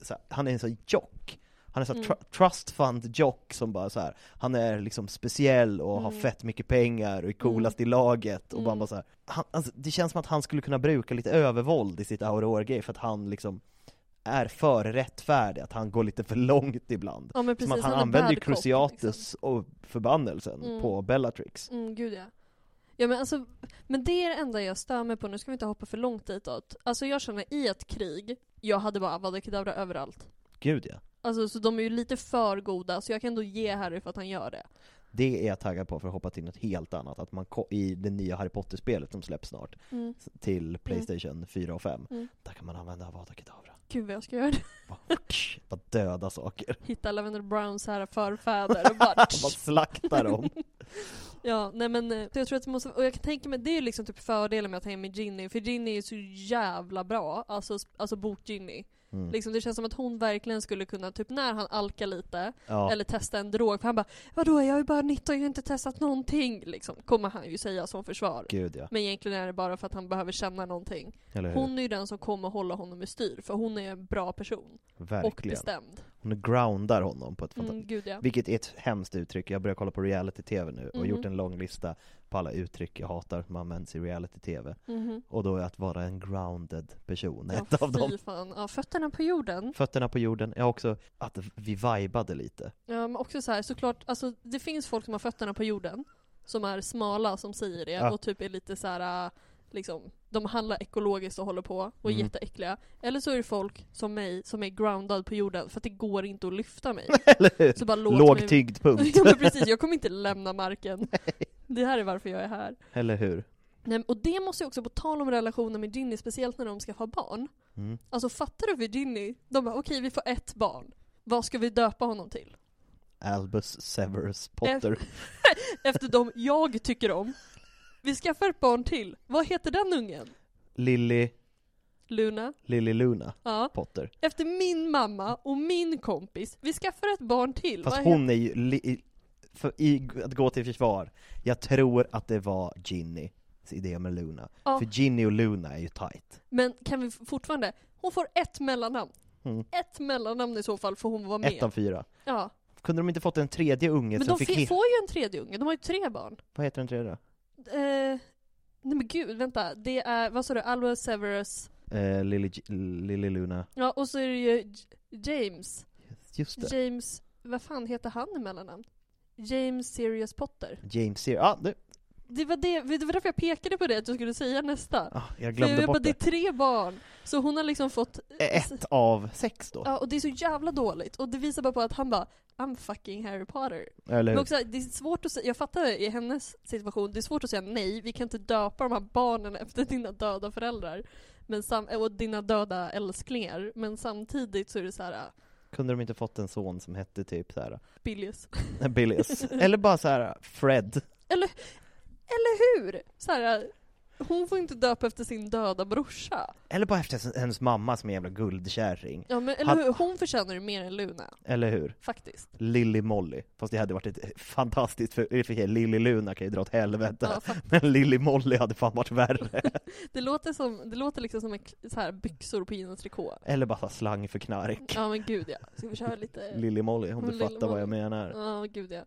så här, han är en sån jock. Han är så här,
Mm.
tr- trust fund jock som bara så här, han är liksom speciell och har
Mm.
fett mycket pengar och är coolast i laget och man bara så här, han, alltså, det känns som att han skulle kunna bruka lite övervåld i sitt auror för att han liksom är för rättfärdig, att han går lite för långt ibland.
Ja, men precis,
som att han,
han är
använder ju
bad cop, liksom.
Cruciatus och förbannelsen
Mm.
på Bellatrix.
Mm, gud ja. Ja men alltså, men det är det enda jag stör mig på, nu ska vi inte hoppa för långt ditåt. Alltså jag känner i ett krig, jag hade bara Avada Kedavra överallt.
Gud ja.
Alltså så de är ju lite för goda, så jag kan ändå ge Harry för att han gör det.
Det är jag taggad på för att hoppa till något helt annat, att man ko- i det nya Harry Potter-spelet som släpps snart
Mm.
s- till Playstation 4 och 5,
Mm.
där kan man använda Avada Kedavra.
Gud vad jag ska göra det.
Bara döda saker.
Hitta Lavender Browns här förfäder och bara...
bara slakta dem.
Ja, nej men eh, så jag tror att det måste, och jag kan tänka mig, det är ju liksom typ fördelen med att ha med Ginny, för Ginny är så jävla bra, alltså, sp- alltså bok-Ginny.
Mm.
Liksom det känns som att hon verkligen skulle kunna, typ när han alkar lite,
Ja.
eller testa en drog, för han bara Vadå jag är ju bara 19, jag har inte testat någonting liksom, kommer han ju säga som försvar.
Gud, ja.
Men egentligen är det bara för att han behöver känna någonting.
Eller hur?
Hon är ju den som kommer hålla honom i styr, för hon är en bra person. Och
Verkligen.
bestämd.
Hon groundar honom på ett
Mm,
fantastiskt
gud, ja.
Vilket är ett hemskt uttryck, jag börjar kolla på reality-tv nu och
Mhm.
gjort en lång lista på alla uttryck jag hatar som används i reality-tv
Mhm.
Och då är att vara en grounded person
Ja,
ett av dem
fy fan. Ja, fötterna på jorden.
Fötterna på jorden, ja också att vi vibade lite
Ja, men Ehm, också så här, såklart, alltså det finns folk som har fötterna på jorden, som är smala som säger det
Ja.
och typ är lite så här äh, liksom, de handlar ekologiskt och håller på och är
Mm.
jätteäckliga. Eller så är det folk som mig som är groundad på jorden för att det går inte att lyfta mig.
Eller hur?
Så bara låt
Låg
mig-
tyngdpunkt.
ja men precis, jag kommer inte lämna marken. Det här är varför jag är här.
Eller hur?
Nej, men- och det måste ju också, på tal om relationen med Ginny, speciellt när de ska få barn.
Mm.
Alltså fattar du för Ginny? De bara okej vi får ett barn. Vad ska vi döpa honom till?
Albus Severus Potter
Efter de jag tycker om. Vi skaffar ett barn till. Vad heter den ungen?
Lily,
Luna?
Lily Luna
Ja.
Potter
Efter min mamma och min kompis. Vi skaffar ett barn till.
Fast
Vad
hon är ju, li, för, i, att gå till försvar, jag tror att det var Ginny idé med Luna.
Ja.
För Ginny och Luna är ju tight.
Men kan vi f- fortfarande? Hon får ett mellannamn.
Mm.
Ett mellannamn i så fall får hon vara med.
Ett av fyra.
Ja.
Kunde de inte fått en tredje unge
Men
som
de
fick
fi-
hit?
får ju en tredje unge. De har ju tre barn.
Vad heter den tredje då?
Eh, nej men gud, vänta. Det är, vad sa du? Alva Severus.
Eh, Lily, G- Lily Luna.
Ja, och så är det ju J- James.
Just det.
James, vad fan heter han i mellannamn? James Sirius Potter.
James Sear. Ah, du.
Det var, det, det var därför jag pekade på det, att du skulle säga nästa.
Ah, jag
För
glömde
jag bara,
bort
det är
det. Eh,
tre barn, så hon har liksom fått...
Ett av sex då.
Ja, och det är så jävla dåligt. Och det visar bara på att han bara, I'm fucking Harry Potter.
Eller hur?
Men också, det är svårt att säga, jag fattar i hennes situation, det är svårt att säga nej, vi kan inte döpa de här barnen efter dina döda föräldrar. Men sam- eh, och dina döda älsklingar. Men samtidigt så är det så här, äh,
Kunde de inte fått en son som hette typ såhär,
Billius.
Billius? Eller bara såhär, Fred.
Eller, eller hur? Så här, äh, hon får inte döpa efter sin döda brorsa.
Eller bara efter hennes mamma som är en jävla guldkärring.
Ja, men, eller
Han-
hur? Hon förtjänar ju mer än Luna.
Eller hur?
Faktiskt.
Lilly Molly, fast det hade varit ett fantastiskt, för, i och för sig, Lilly Luna kan ju dra åt helvete
Ja, faktiskt.
Men Lilly Molly hade fan varit värre
Det låter, som, det låter liksom som en, k- så här, byxor på jeans trikå.
Eller bara så här slang för knark
Ja men gud ja. Ska vi köra lite?
Lilly Molly, om du
Lilly
fattar vad jag
Molly.
menar
Ja gud ja.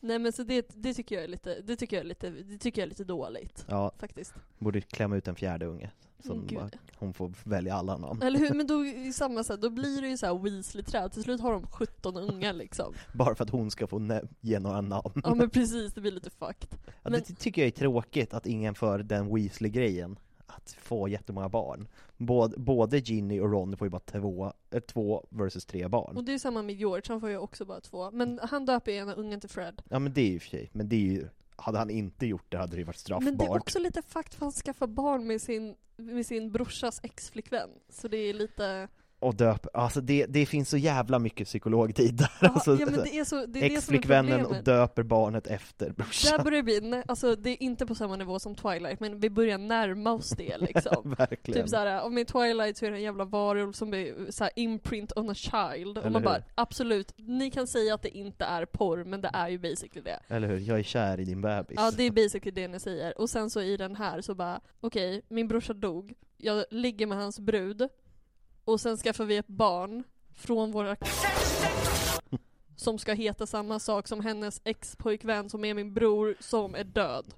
Nej men så det, det tycker jag är lite, det tycker jag är lite, det tycker jag är lite dåligt.
Ja,
Faktiskt.
borde klämma ut en fjärde unge som
Mm, gud,
bara, Hon får välja alla namn
Eller hur? Men då, i samma sätt, då blir det ju så här Weasley-träd. Till slut har de 17 ungar liksom.
Bara för att hon ska få nä- ge några namn
Ja men precis, det blir lite fucked.
Ja, Det ty- tycker jag är tråkigt att ingen för den Weasley-grejen Att få jättemånga barn Både, både Ginny och Ron får ju bara två, eh, två versus tre barn
Och det är ju samma med George, han får ju också bara två. Men han döper ju ena ungen till Fred.
Ja men det är ju i och för sig, men det är ju hade han inte gjort det hade det varit straffbart.
Men det är också lite fakt för han skaffar barn med sin, med sin brorsas ex-flickvän. Så det är lite...
Och döp, alltså det, det finns så jävla mycket psykologtid där. alltså,
ja, men det är så- det är det som är
Ex-flickvännen och
problemet.
döper barnet efter
Där
brorsan.
börjar det bli, nä- alltså det är inte på samma nivå som Twilight, men vi börjar närma oss det liksom.
Verkligen.
typ såhär, om i Twilight så är det en jävla varulv som är såhär imprint on a child.
Eller
och man
hur?
bara, absolut, ni kan säga att det inte är porr, men det är ju basically det.
Eller hur? Jag är kär i din bebis.
Ja, det är basically det ni säger. Och sen så i den här så bara, okej, min brorsa dog, jag ligger med hans brud, och sen skaffar vi ett barn från våra som ska heta samma sak som hennes ex-pojkvän som är min bror, som är död.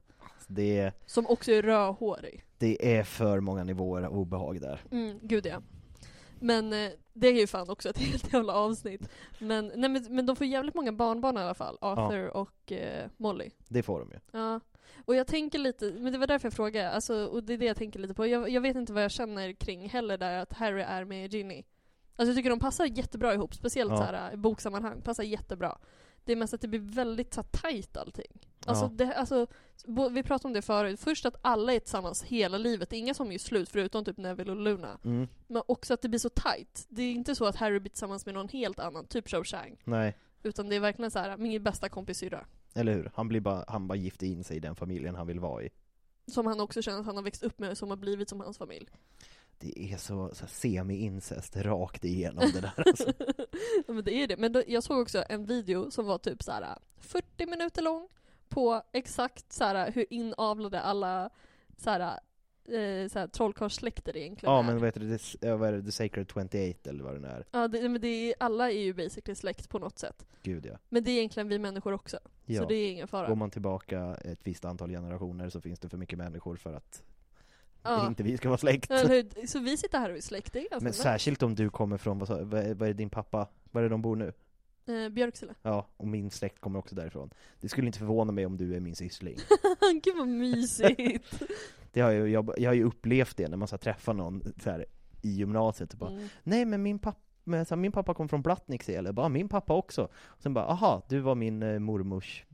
det,
Som också är rödhårig.
det är för många nivåer av obehag där.
Mm, gud ja. Men eh, det är ju fan också ett helt jävla avsnitt. Men, nej, men, men de får jävligt många barnbarn i alla fall, Arthur och eh, Molly.
Det får de ju.
Ja. Och jag tänker lite, men det var därför jag frågade, alltså, och det är det jag tänker lite på. Jag, jag vet inte vad jag känner kring heller där att Harry är med Ginny. Alltså jag tycker de passar jättebra ihop, speciellt
Ja.
så här, i boksammanhang, passar jättebra. Det är mest att det blir väldigt så här, tajt allting. Alltså,
Ja.
det, alltså, bo, vi pratade om det förut, först att alla är tillsammans hela livet, det är inga som är slut förutom typ Neville och Luna.
Mm.
Men också att det blir så tajt. Det är inte så att Harry blir tillsammans med någon helt annan, typ Cho Chang.
Nej,
Utan det är verkligen så här, min bästa kompis syrra.
eller hur? Han, blir bara, han bara gifte in sig i den familjen han vill vara i.
Som han också känner att han har växt upp med, som har blivit som hans familj.
Det är så, så här semi-incest rakt igenom det där alltså.
Ja, men det är det. Men då, jag såg också en video som var typ så här 40 minuter lång på exakt så här hur inavlade alla så här, eh, så här trollkarlssläkter egentligen
Ja
är.
men vad heter det, det, eh, vad är det, The Sacred 28 eller vad det nu är?
Ja, det, men det är, alla är ju basically släkt på något sätt.
Gud ja.
Men det är egentligen vi människor också.
Ja.
Så det är ingen fara.
Går man tillbaka ett visst antal generationer så finns det för mycket människor för att
Ja.
inte vi ska vara släkt.
Eller hur? Så vi sitter här och är släkt, det är ganska
Men
nice.
särskilt om du kommer från, vad, sa- vad är- vad är din pappa, var är de bor nu?
eh, Björksele.
Ja, och min släkt kommer också därifrån. Det skulle inte förvåna mig om du är min syssling.
Gud vad mysigt!
Det har jag, jag, jag har ju upplevt det när man så här, träffar någon så här, i gymnasiet och bara
Mm.
Nej men min pappa men så här, min pappa kom från Blattniksele, eller bara min pappa också. Och sen bara, aha, du var min eh, mormors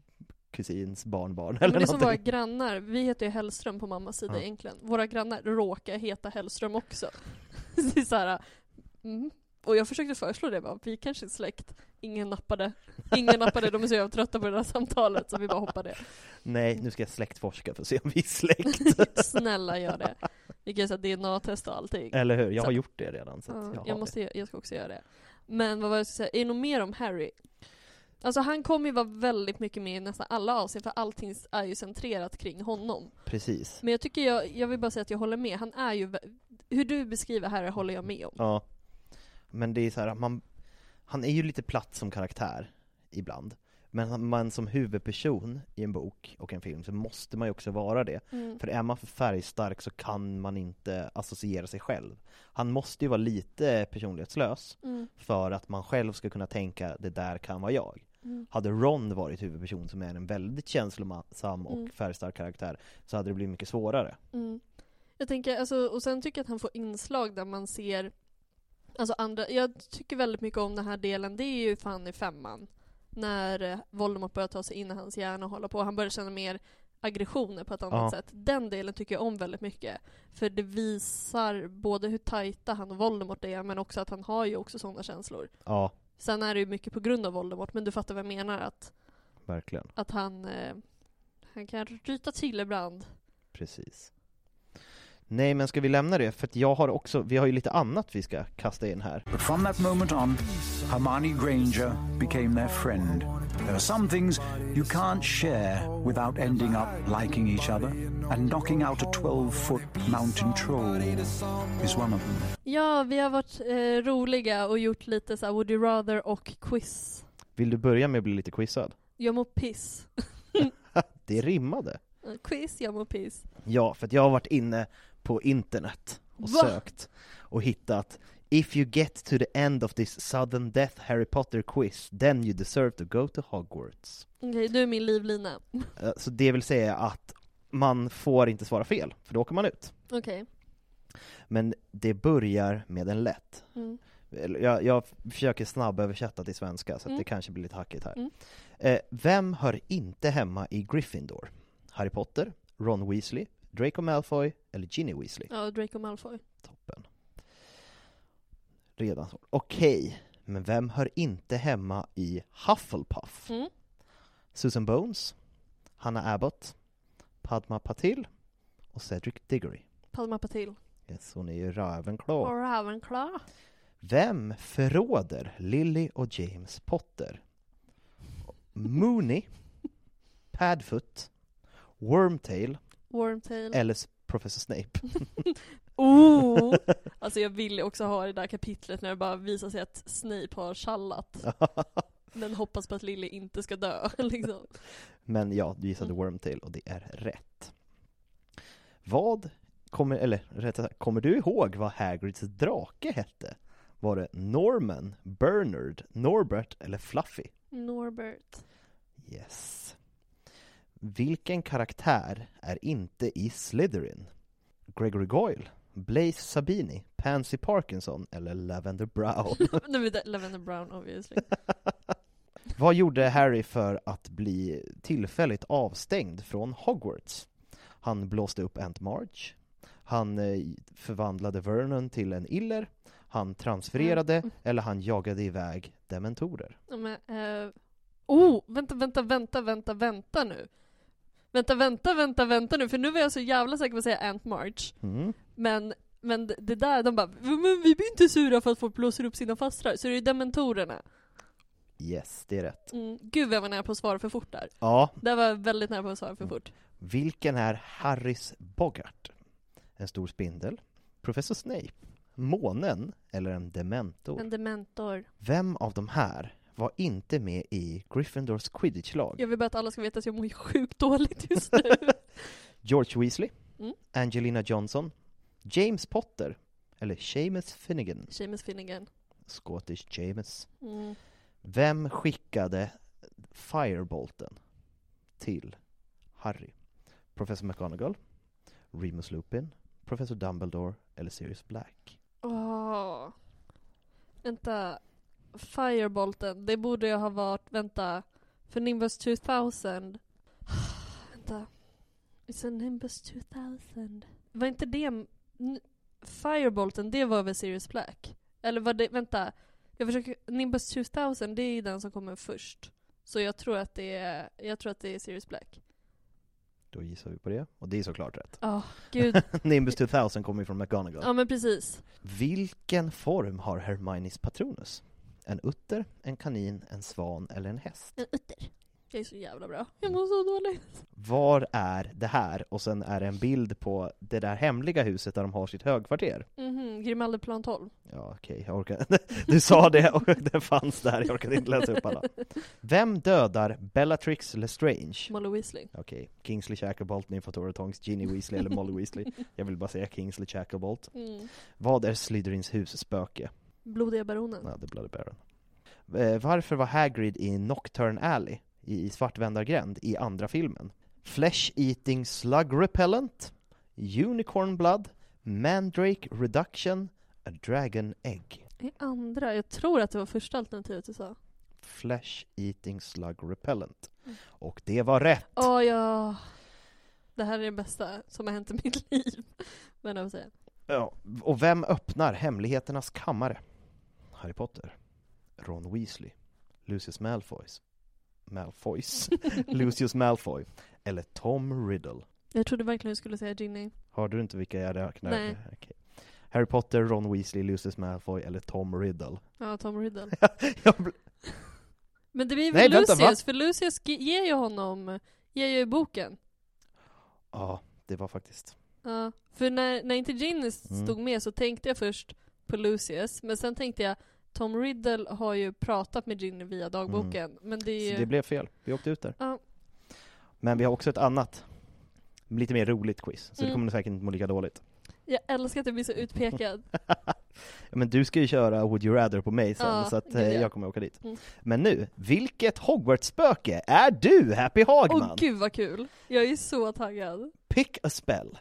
kusins barnbarn
Men
eller
det är som våra
någonting.
grannar, vi heter ju Hellström på mammas sida
Ja.
egentligen. Våra grannar råkar heta Hellström också. det är så här, mm. Och jag försökte föreslå det bara, vi kanske är släkt. Ingen nappade. Ingen nappade, de är så jävla trötta på det här samtalet så vi bara hoppade.
Nej, nu ska jag släktforska för att se om vi är släkt.
Typ, Snälla gör det. Vi kan göra så här DNA-test och allting.
Eller hur? Jag
Så-
har gjort det redan. Så att
Ja,
jag har
jag, måste, gö- jag ska också göra det. Men vad var det jag skulle säga? Är det något mer om Harry? Alltså han kommer ju vara väldigt mycket med i nästan alla avsnitt för allting är ju centrerat kring honom.
det. Precis.
Men jag tycker jag, jag vill bara säga att jag håller med. Han är ju, vä- hur du beskriver Harry håller jag med om.
Ja. Men det är så här, att man, han är ju lite platt som karaktär ibland. Men han- man som huvudperson i en bok och en film så måste man ju också vara det.
Mm.
För är man för färgstark så kan man inte associera sig själv. Han måste ju vara lite personlighetslös
Mm.
för att man själv ska kunna tänka det där kan vara jag.
Mm.
Hade Ron varit huvudperson som är en väldigt känslosam och
Mm.
färgstark karaktär så hade det blivit mycket svårare.
Mm. Jag tänker, alltså, och sen tycker jag att han får inslag där man ser Alltså andra, jag tycker väldigt mycket om den här delen, det är ju fan i femman. När eh, Voldemort börjar ta sig in i hans hjärna och hålla på, han börjar känna mer aggressioner på ett annat
Ja.
sätt. Den delen tycker jag om väldigt mycket. För det visar både hur tajta han och Voldemort är, men också att han har ju också sådana känslor.
Ja,
Sen är det ju mycket på grund av Voldemort, men du fattar vad jag menar att,
verkligen.
att han, eh, han kan ryta till ibland.
Precis. Nej men ska vi lämna det? För att jag har också, vi har ju lite annat vi ska kasta in här.
But from that moment on, Hermione Granger became their friend. There are some things you can't share without ending up liking each other, and knocking out a 12 foot mountain troll is one of them.
Ja, vi har varit eh, roliga och gjort lite så här Would you rather och quiz.
Vill du börja med att bli lite quizad?
Jag mår piss.
Det rimmade.
Eh, quiz, jag mår piss.
Ja, för att jag har varit inne på internet och
Va?
sökt och hittat If you get to the end of this sudden death Harry Potter quiz, then you deserve to go to Hogwarts.
Okej, du är min livlina.
Eh, Så det vill säga att man får inte svara fel, för då åker man ut.
Okej.
Men det börjar med en lätt.
Mm.
eller jag, jag försöker snabböversätta till svenska så att
Mm.
det kanske blir lite hackigt här.
Mm.
Eh, vem hör inte hemma i Gryffindor? Harry Potter, Ron Weasley, Draco Malfoy eller Ginny Weasley?
Ja, Draco Malfoy.
Toppen. Redan svårt. Okej, men vem hör inte hemma i Hufflepuff?
Mm.
Susan Bones, Hanna Abbott, Padma Patil och Cedric Diggory.
Palma Patil.
Yes, hon är ju Ravenclaw.
Och Ravenclaw.
Vem förråder Lily och James Potter? Mooney, Padfoot, Wormtail
Wormtail.
eller s- Professor Snape?
Oh! Alltså jag vill ju också ha det där kapitlet när det bara visar sig att Snape har tjallat. Men hoppas på att Lily inte ska dö liksom.
Men ja, du gissade Wormtail och det är rätt. Vad kommer, eller rättare sagt, kommer du ihåg vad Hagrids drake hette? Var det Norman, Bernard, Norbert eller Fluffy?
Norbert.
Yes. Vilken karaktär är inte i Slytherin? Gregory Goyle, Blaze Sabini, Pansy Parkinson eller Lavender Brown?
Nej men det- Lavender Brown obviously.
Vad gjorde Harry för att bli tillfälligt avstängd från Hogwarts? Han blåste upp Aunt Marge, han eh, förvandlade Vernon till en iller, han transfererade eller han jagade iväg dementorer.
Ja, Men, eh, oh! Vänta, vänta, vänta, vänta, vänta nu. Vänta, vänta, vänta, vänta nu. För nu var jag så jävla säker på att säga Ant March.
Mm.
Men, men det- det där, de bara men vi blir inte sura för att folk blåser upp sina fastrar. Så det är dementorerna.
Yes, det är rätt.
Mm. Gud vad jag var nära på att svara för fort där.
Ja,
Där var jag väldigt nära på att svara för fort.
Vilken är Harrys Bogart? En stor spindel? Professor Snape? Månen? Eller en dementor?
En dementor.
Vem av de här var inte med i Gryffindors quidditch-lag?
Jag vill bara att alla ska veta att jag mår sjukt dåligt just nu.
George Weasley?
Mm.
Angelina Johnson? James Potter? Eller Seamus Finnegan?
Seamus Finnegan.
Scottish James.
Mm.
Vem skickade Firebolten till Harry? Professor McGonagall? Remus Lupin? Professor Dumbledore? Eller Sirius Black?
Åh. Vänta. Firebolten. Det borde jag ha varit. Vänta. För Nimbus 2000. vänta. It's a Nimbus 2000. Var inte det... n- Firebolten, det var väl Sirius Black? Eller var det... Vänta. Jag försöker... Nimbus 2000, det är ju den som kommer först. Så jag tror att det är, jag tror att det är Sirius Black.
Då gissar vi på det, och det är såklart rätt.
Ja, gud.
Nimbus 2000 kommer ju från McGonagall.
Ja men precis.
Vilken form har Hermione's patronus? En utter, en kanin, en svan eller en häst?
En utter. Jag är så jävla bra. Jag mår så dåligt.
Var är det här? Och sen är det en bild på det där hemliga huset där de har sitt högkvarter.
Mhm, Grimaldeplan 12.
Ja, okej, jag orkar Du sa det och det fanns där, jag orkade inte läsa upp alla. Vem dödar Bellatrix Lestrange?
Molly Weasley.
Okej, Kingsley Shacklebolt, Nymphatora Tonks, Ginny Weasley eller Molly Weasley? Jag vill bara säga Kingsley Shacklebolt.
Mm.
Vad är Slytherins husspöke?
Blodiga baronen.
Ja, The Bloody Baron. Eh, varför var Hagrid i Nocturne Alley i Svartvändargränd i andra filmen? Flesh Eating Slug Repellent, Unicorn Blood, Mandrake Reduction, A Dragon Egg.
I andra, jag tror att det var första alternativet du sa.
Flesh Eating Slug Repellent. Och det var rätt!
Åh ja. Det här är det bästa som har hänt i mitt liv. Men jag får säga.
Ja. Och vem öppnar Hemligheternas kammare? Harry Potter, Ron Weasley, Lucius Malfoys, Malfoys, Lucius Malfoy eller Tom Riddle.
Jag trodde verkligen du skulle säga Ginny.
Har du inte vilka jag räknar?
Nej.
Okej. Harry Potter, Ron Weasley, Lucius Malfoy eller Tom Riddle?
Ja, Tom Riddle.
Jag bl-
Men det
Nej,
blir väl
vänta,
Lucius,
va?
för Lucius ge- ger ju honom, ger ju boken.
ja, det var faktiskt...
Ja. För när, när inte Ginny
Mm.
stod med så tänkte jag först på Lucius, men sen tänkte jag Tom Riddle har ju pratat med Ginny via dagboken. Men det är ju...
Mm. Så det blev fel. Vi åkte ut där.
Ja.
Men vi har också ett annat, lite mer roligt quiz. Så det
Mm.
kommer du säkert inte må lika dåligt.
Jag älskar att jag blir så utpekad.
Men du ska ju köra Would You Rather på mig sen,
Ja,
så att
gud,
eh,
ja.
jag kommer åka dit.
Mm.
Men nu, vilket Hogwarts-spöke är du, Happy
Åh
Hagman?
gud vad kul! Jag är så taggad.
Pick a spell.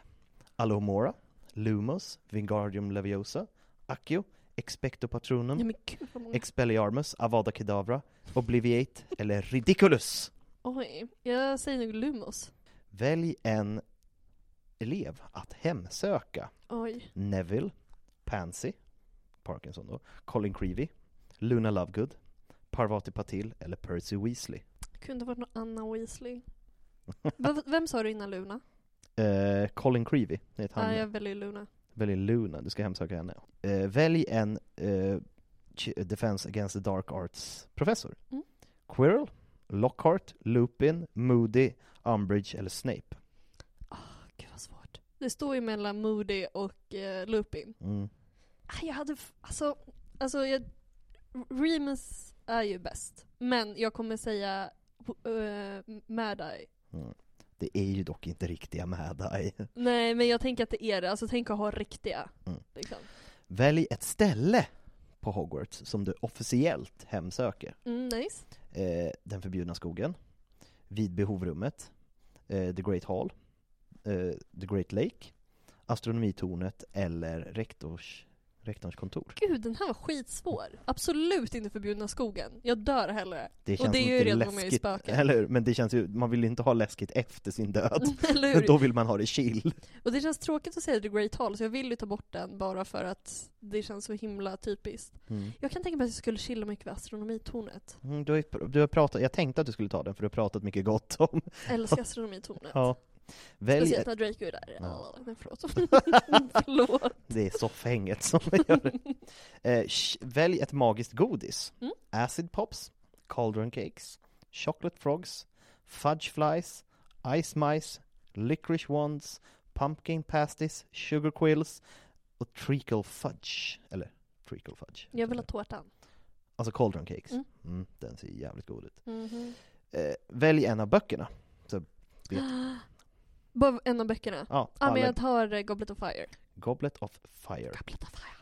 Alohomora, Lumos, Wingardium Leviosa, Accio, Expecto Patronum,
Nej, men gud, vad många.
Expelliarmus, Avada Kedavra, Obliviate eller Ridiculus.
Oj, jag säger nog Lumos.
Välj en elev att hemsöka.
Oj.
Neville, Pansy, Parkinson då, Colin Creevy, Luna Lovegood, Parvati Patil eller Percy Weasley.
Kunde varit någon Anna Weasley.
Ah.
Vem, vem sa du innan Luna?
Eh, Colin Creevy, det är ett han.
Nej, jag väljer Luna.
Välj Luna, du ska hemsöka henne. Eh, välj en eh, Ch- Defense Against the Dark Arts-professor.
Mm.
Quirrell, Lockhart, Lupin, Moody, Umbridge eller Snape.
Gud vad svårt. Det står ju mellan Moody och eh, Lupin.
Mm.
Ah, Jag hade, f- alltså, alltså jag, Remus är ju bäst. Men jag kommer säga uh, Mad-Eye.
Mm. Det är ju dock inte riktiga Mad-Eye.
Nej men jag tänker att det är det, alltså tänk att ha riktiga.
Mm.
Liksom.
Välj ett ställe på Hogwarts som du officiellt hemsöker.
Mm, nice.
Eh, den förbjudna skogen, vid behovrummet, eh, The Great Hall, eh, The Great Lake, Astronomitornet eller rektors, rektorns kontor.
Gud den här var skitsvår. Absolut inte förbjudna skogen. Jag dör hellre.
Det
och
känns
det är ju
lite
redan om jag är
läskigt,
spöke.
eller hur? Men det känns ju, man vill ju inte ha läskigt efter sin död.
eller hur?
Då vill man ha det chill.
Och det känns tråkigt att säga The Great Hall så jag vill ju ta bort den bara för att det känns så himla typiskt.
Mm.
Jag kan tänka mig att jag skulle chilla mycket vid astronomitornet.
Mm, Du har, ju- du har pratat, jag tänkte att du skulle ta den för du har pratat mycket gott om.
Älskar astronomitornet.
Ja. Välj
Speciellt
ett,
när Draco är där.
Ja.
Ja. Nej, förlåt. förlåt.
det är soffhänget som gör det. Eh, sh- välj ett magiskt godis.
Mm.
Acid Pops, Cauldron Cakes, Chocolate Frogs, Fudge Flies, Ice Mice, Licorice Wands, Pumpkin Pasties, Sugar Quills och Treacle Fudge. Eller Treacle Fudge.
Jag vill ha tårtan.
Alltså Cauldron Cakes.
Mm.
Mm. den ser jävligt god ut.
Mhm.
Eh, välj en av böckerna.
Bara en av böckerna.
Ja,
Ja men
alla-
jag tar eh, Goblet of Fire.
Goblet of Fire.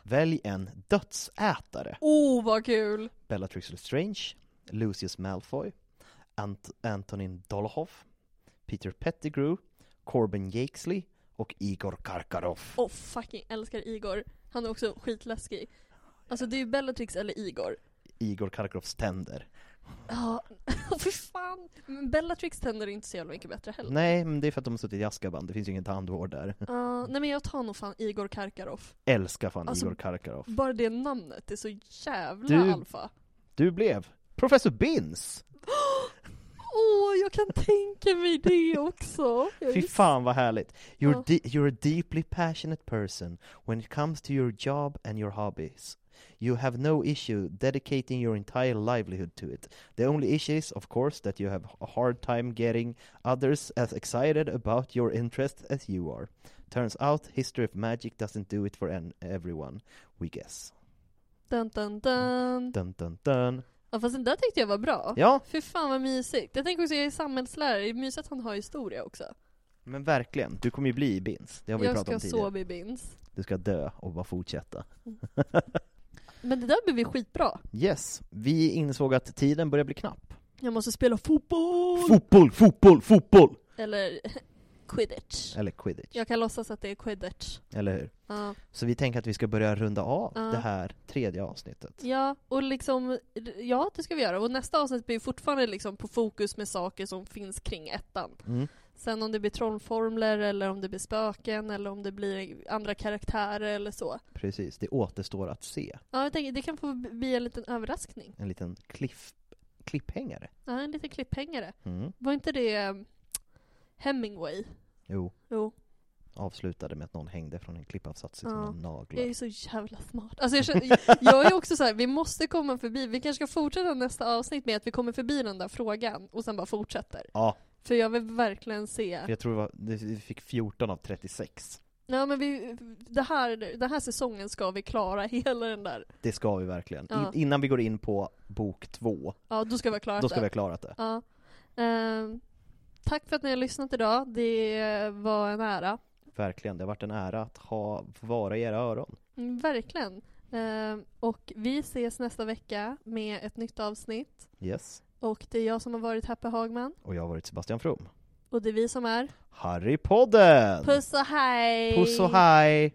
Välj en dödsätare.
Oh vad kul!
Bellatrix Lestrange, Lucius Malfoy, Ant- Antonin Dolohov, Peter Pettigrew, Corbin Yakesley och Igor Karkaroff.
Oh fucking älskar Igor. Han är också skitläskig. Alltså det är ju Bellatrix eller Igor.
Igor Karkaroffs tänder.
Ja, fy fan! Men Bellatrix tänder är inte så jävla mycket bättre heller.
Nej, men det är för att de har suttit i Azkaban. Det finns ju ingen tandvård där.
Ja, nej men jag tar nog fan Igor Karkaroff.
Älskar fan
Alltså,
Igor Karkaroff.
Bara det namnet är så jävla
Du-
alfa.
Du blev Professor Binns!
Åh, jag kan tänka mig det också! Jag
Fy
visste-
fan vad härligt! You're,
Ja.
de- you're a deeply passionate person when it comes to your job and your hobbies. You have no issue dedicating your entire livelihood to it. The only issue is, of course, that you have a hard time getting others as excited about your interest as you are. Turns out history of magic doesn't do it for an- everyone, we guess.
Dun, dun, dun.
Dun, dun, dun.
Ja, fast den där tyckte jag var bra.
Ja,
Fy fan vad mysigt. Jag tänker också, jag är samhällslärare, det är mysigt att han har historia också.
men verkligen. Du kommer ju bli Bins. Det har vi
jag
pratat
ska
om tidigare.
så bli bins.
Du ska dö och bara fortsätta.
Men det där blev ju skitbra.
Yes, vi insåg att tiden börjar bli knapp.
Jag måste spela fotboll!
Fotboll, fotboll, fotboll!
Eller quidditch.
Eller quidditch,
Jag kan låtsas att det är quidditch.
eller hur?
Ja.
Så vi tänker att vi ska börja runda av
Ja.
det här tredje avsnittet.
Ja, och liksom, ja det ska vi göra. Och nästa avsnitt blir fortfarande liksom på fokus med saker som finns kring ettan.
Mm.
Sen om det blir trollformler eller om det blir spöken eller om det blir andra karaktärer eller så.
Precis, det återstår att se.
Ja, jag tänker det kan få bli en liten överraskning.
En liten cliff, klipphängare.
Ja, en liten klipphängare.
Mm.
Var inte det eh, Hemingway?
Jo,
Jo,
avslutade med att någon hängde från en klippavsats utan
Ja.
någon
jag
naglar.
är så jävla smart. Alltså jag, känner, jag är också så här, vi måste komma förbi, vi kanske ska fortsätta nästa avsnitt med att vi kommer förbi den där frågan och sen bara fortsätter.
Ja,
För jag vill verkligen se
för jag tror det var, det- vi fick 14 av 36.
Ja men vi, det här, den här säsongen ska vi klara hela den där.
Det ska vi verkligen.
Ja.
I, innan vi går in på bok två,
Ja då ska vi ha klarat
då ska vi
det.
ha klarat det.
Ja. Ehm, tack för att ni har lyssnat idag, det var en ära.
Verkligen, det har varit en ära att ha, få vara i era öron.
Mm, Verkligen. Ehm, och vi ses nästa vecka med ett nytt avsnitt.
Yes.
Och det är jag som har varit Happy Hagman.
Och jag har varit Sebastian From.
Och det är vi som är
Harrypodden!
Puss och hej!
Puss och hej!